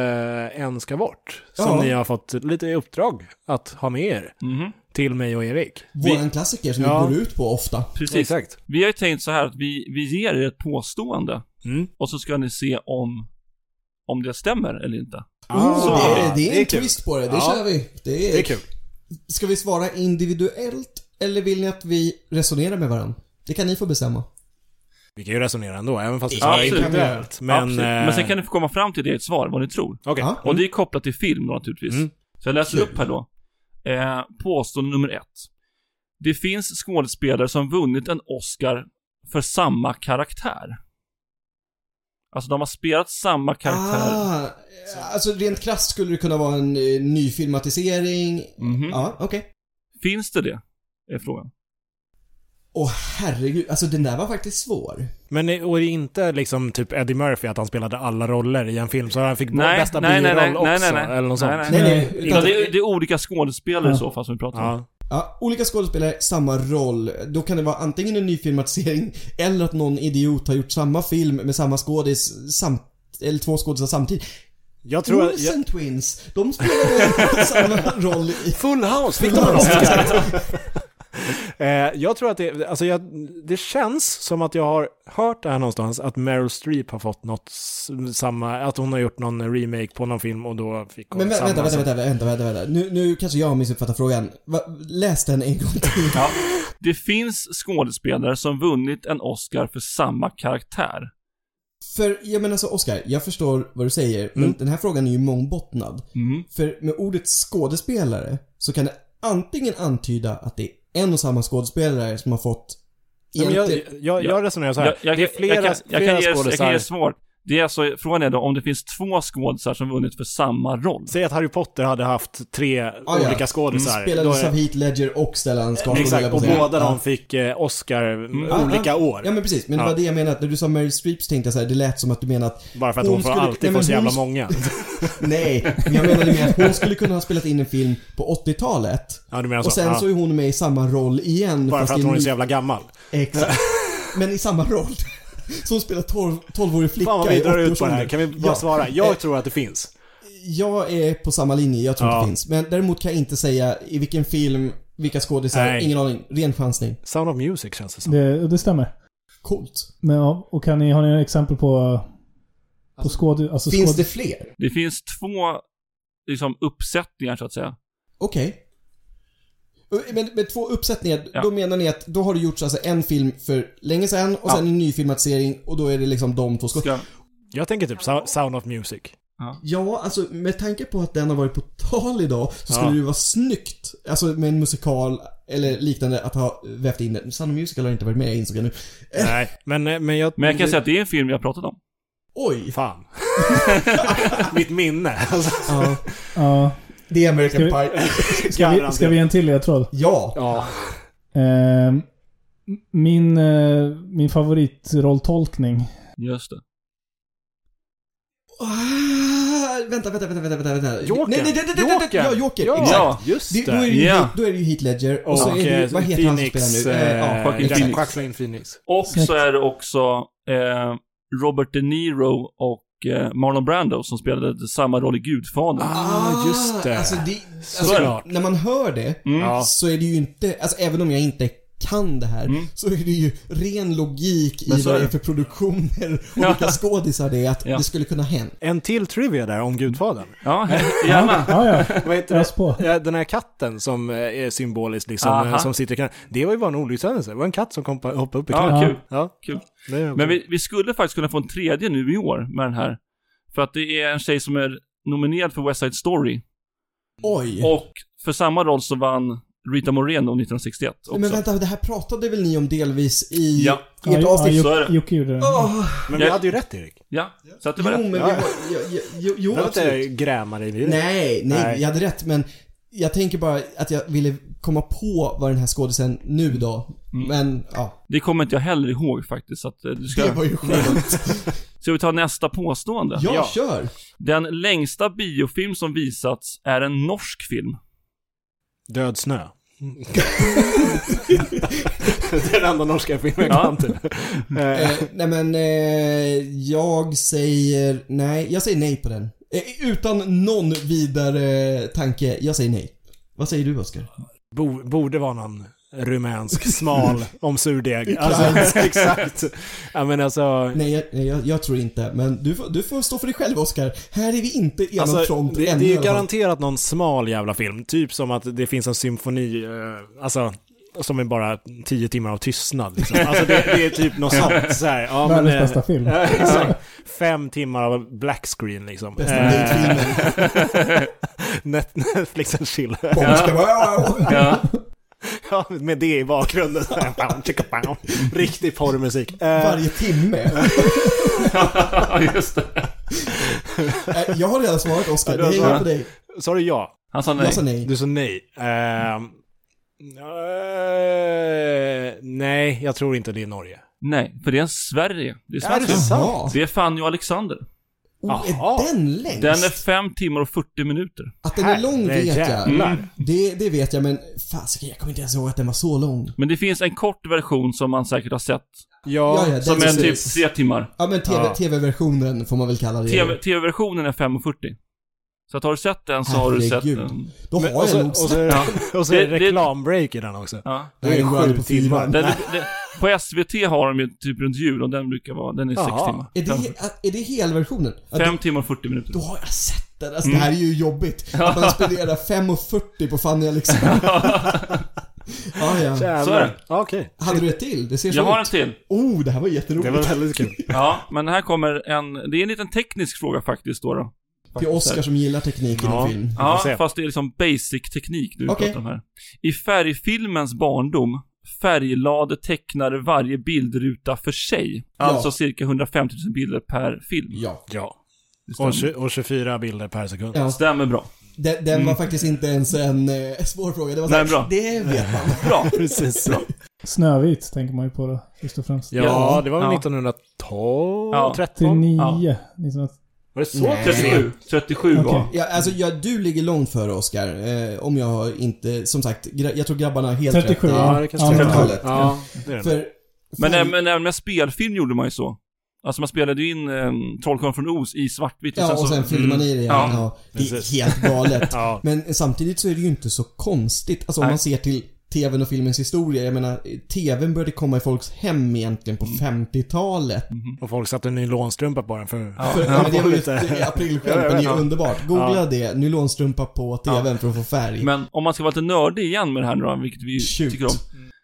eh, En ska bort? Som Ja. ni har fått lite i uppdrag att ha med er. Mhm. Till mig och Erik. Våran klassiker som Ja. vi går ut på ofta. Precis. Vi har ju tänkt så här att vi, vi ger er ett påstående Mm. och så ska ni se om, om det stämmer eller inte. Oh, Ah, det, är, det är en kul. twist på det, det Ja. kör vi. Det är, Det är kul. Ska vi svara individuellt eller vill ni att vi resonerar med varandra? Det kan ni få bestämma. Vi kan ju resonera ändå, även fast vi Ja, svarar absolut. individuellt. Men... eh, Absolut. Men sen kan ni få komma fram till det i ett svar, vad ni tror. Okej. Ja. Och det är kopplat till film då, naturligtvis. Mm. Så jag läser Kul. upp här då. Eh, påstående nummer ett. Det finns skådespelare som vunnit en Oscar för samma karaktär. Alltså de har spelat samma karaktär. Ah, alltså rent krasst skulle det kunna vara en eh, ny filmatisering. Mhm. Ja, okej. Finns det det? Är frågan. Åh herregud, alltså den där var faktiskt svår. Men är- och är det inte liksom typ Eddie Murphy, att han spelade alla roller i en film, så han fick Nej, bästa nej, nej, biroll nej, också? nej, nej, nej. Eller något sånt. Nej, nej. Nej, nej. Nej, utan- Utan det, är, det är olika skådespelare Ja. i så fall som vi pratar om. Ja. Ja, olika skådespelare, samma roll. Då kan det vara antingen en ny filmatisering eller att någon idiot har gjort samma film med samma skådis samt, eller två skådisar samtidigt. Jag tror att... Olsen Jag, Twins, de spelade samma roll i... full house! Fick de en Oscar? Eh, jag tror att det, alltså jag, det känns som att jag har hört det här någonstans, att Meryl Streep har fått något s- samma, att hon har gjort någon remake på någon film och då fick hon Men vä- samma. vänta, vänta, som- vänta, vänta, vänta, vänta. Nu, nu kanske jag har missuppfattat frågan. Va, läs den en gång till. Ja. Det finns skådespelare som vunnit en Oscar för samma karaktär. För, jag menar så Oscar, jag förstår vad du säger, Mm. men den här frågan är ju mångbottnad. Mm. För med ordet skådespelare så kan det antingen antyda att det är en och samma skådespelare som har fått Nej, men Jag, egentligen... jag, jag resonerar så här, det är flera, jag kan, jag flera kan ge, Jag kan skådisar. ge svar. Det är alltså, frågan är då om det finns två skådisar som vunnit för samma roll. Säg att Harry Potter hade haft tre Ah, ja. Mm, olika skådisar. Då Spelades är- av Heath Ledger och Stellan Skarsgård höll jag Eh, Exakt, på och att säga. båda Ja. de fick eh, Oscar Mm. Ja, olika ja. år. Ja men precis, men det Ja. var det jag menade. När du sa Mary Streep så tänkte jag så här, det lät som att du menade att Bara för att hon, Hon får skulle- alltid nej, få men så jävla hon- många. Nej, men jag menade mer att hon skulle kunna ha spelat in en film på 80-talet. Ja, du menar så. Och sen Alltså, ja. så är hon med i samma roll igen. Bara fast för att i en hon är ny- så jävla gammal. Exakt. Men i samma roll. Så hon spelar 12 12-årig flicka Fan vad vi i drar ut på det här. 80-årsåldern. Kan vi bara Ja. svara? Eh, Jag tror att det finns. Jag är på samma linje, jag tror Ja. att det finns. Men däremot kan jag inte säga i vilken film, vilka skådisar, Nej. ingen aning. Ren chansning. Sound of Music känns det som. Det, det stämmer. Coolt. Men, ja, och kan ni, har ni några exempel på, på skåd... Alltså Finns skåd... det fler? Det finns två liksom, uppsättningar så att säga. Okej. Eh, Men med två uppsättningar, Ja. då menar ni att då har det gjorts alltså en film för länge sedan och Ja. sen en ny filmatisering och då är det liksom de två skådisarna. Ska, Jag tänker typ Sou- Sound of Music. Ja, alltså med tanke på att den har varit på tal idag så Ja. skulle det ju vara snyggt, alltså med en musikal eller liknande, att ha vävt in den. Sound of Musical har inte varit med, jag insåg jag nu. Nej, men, eh, men jag... men jag kan säga att det är en film vi har pratat om. Oj! Fan. Mitt minne. Alltså, Ja, Ja. det är American Ska Pie. Ska vi, ska vi ge en till ledtråd? Ja! Ja. Eh, min, eh, min favoritrolltolkning. Just det. Ah, vänta, vänta, vänta, vänta, vänta, vänta. Joker. Nej, nej, nej, nej, nej, nej, nej. Ja, Joker. Ja, Exakt. Ja, just Det, det. då, är det ju, Ja. då är det ju Heath Ledger och, Och, så är det ju, eh, vad heter han som Phoenix... spelar nu? Eh, eh, ja, Joaquin exakt. Jack- Phoenix. Quacklin Phoenix. Och Snyggt. så är det också eh, Robert De Niro och eh, Marlon Brando som spelade samma roll i Gudfadern. Ah, just det. Alltså, det alltså, Såklart. när man hör det Mm. Ja. så är det ju inte, alltså även om jag inte kan det här, Mm. så är det ju ren logik Men i så vad är det är för det. produktioner och Ja. vilka skådisar det är att Ja. det skulle kunna hänt. En till trivia där om Gudfadern. Ja, Ja, gärna. ja. Vad heter Ös på. det? Ja, Den här katten som eh, är symboliskt liksom, Aha. eh, som sitter i knä. Det var ju bara en olyckshändelse. Det var en katt som kom på, hoppade upp i knät. Ja, Ja. kul. Ja. Kul. Det är Men vi, vi skulle faktiskt kunna få en tredje nu i år med den här. För att det är en tjej som är nominerad för West Side Story. Oj! Och för samma roll så vann Rita Moreno 1961 också. Men vänta, det här pratade väl ni om delvis i Ja. ert ja, avsnitt? så är Jocke, det. Jocke gjorde det. Åh, Men vi Jag- hade ju rätt Erik. Ja, så att det jo, var men rätt. vi Ja. var... Jo, jo, jo, jo Behöver absolut. inte gräma dig vid det. Nej, nej, Nej. jag hade rätt men jag tänker bara att jag ville komma på vad den här skådisen nu då. Mm. Men ja, Det kommer inte jag heller ihåg faktiskt. Så att eh, du ska... det var ju skönt. Ska vi ta nästa påstående? Jag Ja. kör. Den längsta biofilm som visats är en norsk film. Död snö. det är den enda norska filmen jag Ja. kan till. Eh, Eh, nej men eh, jag säger nej. Jag säger nej på den. Eh, utan någon vidare tanke. Jag säger nej. Vad säger du Oskar? bo- borde vara någon rumänsk smal om surdeg. Alltså, exakt. Ja men alltså... Nej, jag, nej, jag, jag tror inte. Men du får, du får stå för dig själv Oskar. Här är vi inte enad Alltså, front det, ännu. det är i ju alla fall. garanterat någon smal jävla film. Typ som att det finns en symfoni, eh, alltså, som är bara tio timmar av tystnad. Liksom. Alltså det, det är typ något sånt. Så här. Ja, Världens eh, bästa film. ja, exakt. Fem timmar av black screen liksom. Bästa Eh, dejtfilmen. Net, Netflix and chill. Bomb ska bara- Ja. Ja, med det i bakgrunden. Riktig porrmusik. Eh, Varje timme. Just det. Eh, Jag har redan svarat Oskar. Ja, du har Det är svarat. på dig. Sa du ja? Han sa nej. Jag sa nej. Du sa nej. Ehm, eh, nej, jag tror inte det är Norge. Nej, för det är en Sverige. Det är Är det svensk film. sant? Jaha. Det är Fanny och Alexander. Oh, Jaha. är den längst? Den är 5 timmar och 40 minuter. Att den är lång vet jag. Herrejävlar. Det, det vet jag men fasiken jag kommer inte ens ihåg att den var så lång. Men det finns en kort version som man säkert har sett. Ja, Ja, ja. Som Den är som typ syns. 3 timmar. Ja men TV, Ja. tv-versionen får man väl kalla det. TV- TV-versionen är 5 och 40. Så att har du sett den så har du sett Herregud. den. Då har Men, och, jag så, nog och, så, Ja. och så är Det- det det- reklambreak i den också. Ja. Det är den går aldrig på sju fyran. timmar. Den, den, på SVT har de ju typ runt jul och den brukar vara, den är 6 Jaha. timmar. Är det, he- är det helversionen? Ja, då, 5 timmar och 40 minuter. då har jag sett den. Mm. Alltså det här är ju jobbigt. Att man spenderar 5,40 på Fanny Alexander. ja, ja. Jävlar. Så är det. Ja, Okej. Hade du ett till? Det ser så Jag har en ut. till. Oh, det här var Det jätteroligt. var väldigt kul. Ja, men här kommer en, det är en liten teknisk fråga faktiskt då. då. Till Oscar som gillar teknik Ja. inom film. får Ja, se. fast det är liksom basic-teknik nu Okej. okay. pratar om här. I färgfilmens barndom färglade tecknade varje bildruta för sig. Ja. Alltså cirka 150 000 bilder per film. Ja. Ja. Det stämmer, Och, tju- och 24 bilder per sekund. Ja. stämmer bra. Den, den var faktiskt inte ens en eh, svår fråga. Det var Mm. Nej, såhär, bra. det vet man. Bra. Precis. Ja, Snövit tänker man ju på då, först och främst. Ja. det var väl Ja. 1912? Ja. 13? 39. Ja. 19... Var det så? Nej. 37. 37 var. Okej. Ja, alltså, ja, du ligger långt före Oscar. Eh, om jag har inte, som sagt, gra- jag tror grabbarna har helt 37, rätt. Ja, Ja. det kanske Ja, det men- var. Ja, det är det. För, Men fan, även, även med spelfilm gjorde man ju så. Alltså man spelade ju in eh, Trollkarlen från Oz i svartvitt Ja, och sen fyllde man i det igen. Mm. Ja. Ja. det är Precis. helt galet. Ja. Men samtidigt så är det ju inte så konstigt. Alltså om Nej. man ser till TVn och filmens historia. Jag menar, eh, TVn började komma i folks hem egentligen på Mm. 50-talet. Och folk satte en nylonstrumpa på den för... Ja. För, ja, men det var ju lite- ett aprilskämt, Ja, jag men det är vet, ju ja. underbart. Googla det, nylonstrumpa på TVn för att få färg. Men om man ska vara lite nördig igen med det här nu då, vilket vi Shoot. tycker om.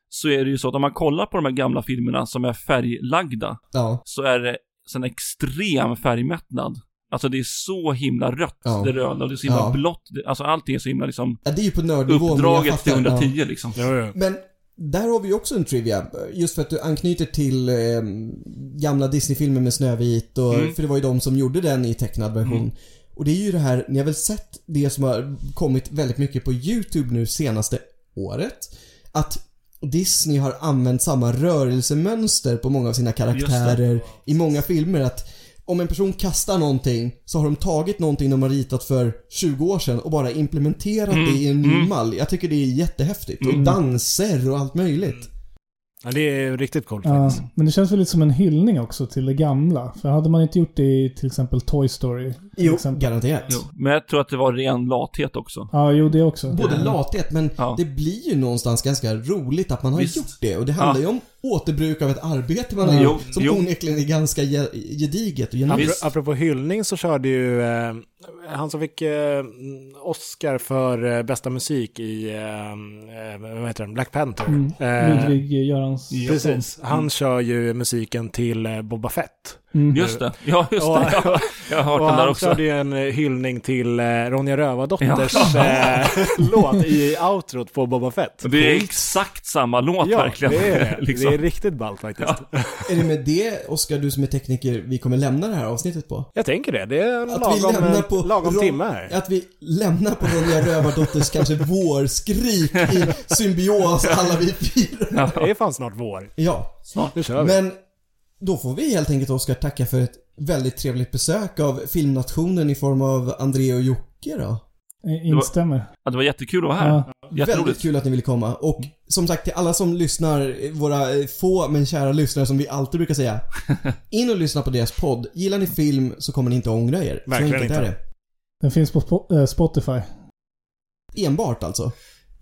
Så är det ju så att om man kollar på de här gamla filmerna som är färglagda, Ja. så är det så en extrem färgmättnad. Alltså det är så himla rött, Ja. det röda, och det är så himla Ja. blått. Det- Alltså allting är så himla liksom ja, det är ju på nördnivå. men jag uppdraget till fattar. 110 Ja. liksom. Jo, jo. Men där har vi ju också en trivia. Just för att du anknyter till eh, gamla Disney-filmer med Snövit och, Mm. för det var ju de som gjorde den i tecknad version. Och det är ju det här, ni har väl sett det som har kommit väldigt mycket på YouTube nu senaste året? Att Disney har använt samma rörelsemönster på många av sina karaktärer i många filmer. Att om en person kastar någonting så har de tagit någonting de har ritat för 20 år sedan och bara implementerat Mm. det i en ny mall. Jag tycker det är jättehäftigt. Och danser och allt Mm. möjligt. Ja, det är riktigt coolt Ja, faktiskt. men det känns väl lite som en hyllning också till det gamla. För hade man inte gjort det i till exempel Toy Story. Till Jo, exempel. Liksom, garanterat. Jo. Men jag tror att det var ren lathet också. Ja, jo det också. Mm. Både lathet men Ja. det blir ju någonstans ganska roligt att man har Visst. Mm. gjort det. Och det handlar ju om återbruk av ett arbete man har Jo, gjort som jo. onekligen är ganska ge- gediget och Apro- genuint. Visst. Apropå hyllning så körde ju eh, han som fick eh, Oscar för eh, bästa musik i, eh, eh, vad heter den, Black Panther. Mm. Eh, Mm. Ludvig Görans... Mm. Precis, han kör ju musiken till eh, Boba Fett. Mm. Just det. Ja, just Och- det. Jag, jag har Och hört den där han också. körde ju en eh, hyllning till eh, Ronja Rövardotters Ja. eh, låt i outrot på Boba Fett. Det är exakt samma låt ja, verkligen. det är det. liksom. Det är riktigt ballt faktiskt. Är det med det, Oskar, du som är tekniker, vi kommer lämna det här avsnittet på? Jag tänker det. Det är en Att vi lagom, lämnar eh, på lagom Ron- timme här. Att vi lämnar på Ronja Rövardotters kanske vårskrik i symbios alla vi fyra. Det är fan snart vår. Ja, Nu kör vi. men då får vi helt enkelt Oskar tacka för ett väldigt trevligt besök av filmnationen i form av André och Jocke då. Eh, Instämmer. Ja, det var jättekul att vara här. Ja. Väldigt Jätteroligt. kul att ni ville komma och som sagt till alla som lyssnar, våra få men kära lyssnare som vi alltid brukar säga. In och lyssna på deras podd. Gillar ni film så kommer ni inte ångra er. Så Verkligen enkelt är inte. Den finns på Spo- eh, Spotify. det. Enbart alltså.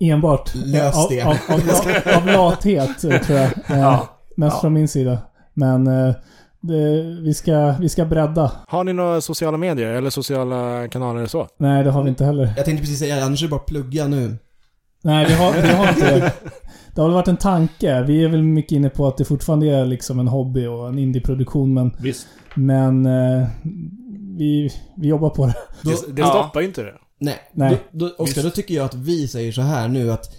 Enbart. Lös av, det. Av, av, la- av lathet, eh, tror jag. Eh, Ja. Mest Ja. från min sida. Men eh, det, vi, ska, vi ska bredda. Har ni några sociala medier eller sociala kanaler eller så? Nej, det har vi inte heller. Jag tänkte precis säga, annars är det bara att plugga nu. Nej, vi har, vi har inte det. Det har väl varit en tanke. Vi är väl mycket inne på att det fortfarande är liksom en hobby och en indieproduktion, men, Visst. men eh, vi, vi jobbar på det. Då, det det Ja. stoppar ju inte det. nej. Nej. Då, då, Oskar, då tycker jag att vi säger så här nu att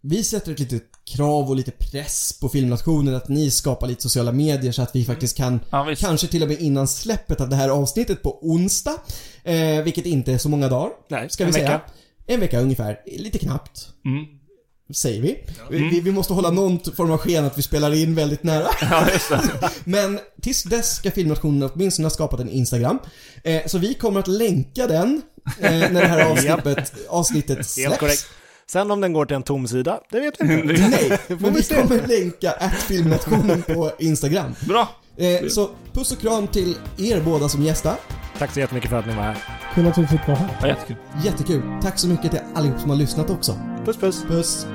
vi sätter ett litet krav och lite press på filmnationen att ni skapar lite sociala medier så att vi faktiskt kan Ja, visst. Kanske till och med innan släppet av det här avsnittet på onsdag. Eh, vilket inte är så många dagar. Nej, Ska en vi säga. vecka. En vecka ungefär. Lite knappt. Mm. Säger vi. vi. Vi måste hålla någon t- form av sken att vi spelar in väldigt nära. Ja, just det. Men tills dess ska Filmnationen åtminstone ha skapat en Instagram. Eh, så vi kommer att länka den eh, när det här avsnittet, avsnittet släpps. Helt korrekt. Sen om den går till en tom sida, det vet vi inte. Nej, men vi kommer länka att Filmnationen på Instagram. Bra. Eh, så puss och kram till er båda som gästar. Tack så jättemycket för att ni var här. Kul att vi fick vara här. Ja, jättekul. Jättekul. Tack så mycket till allihop som har lyssnat också. Puss puss. Puss!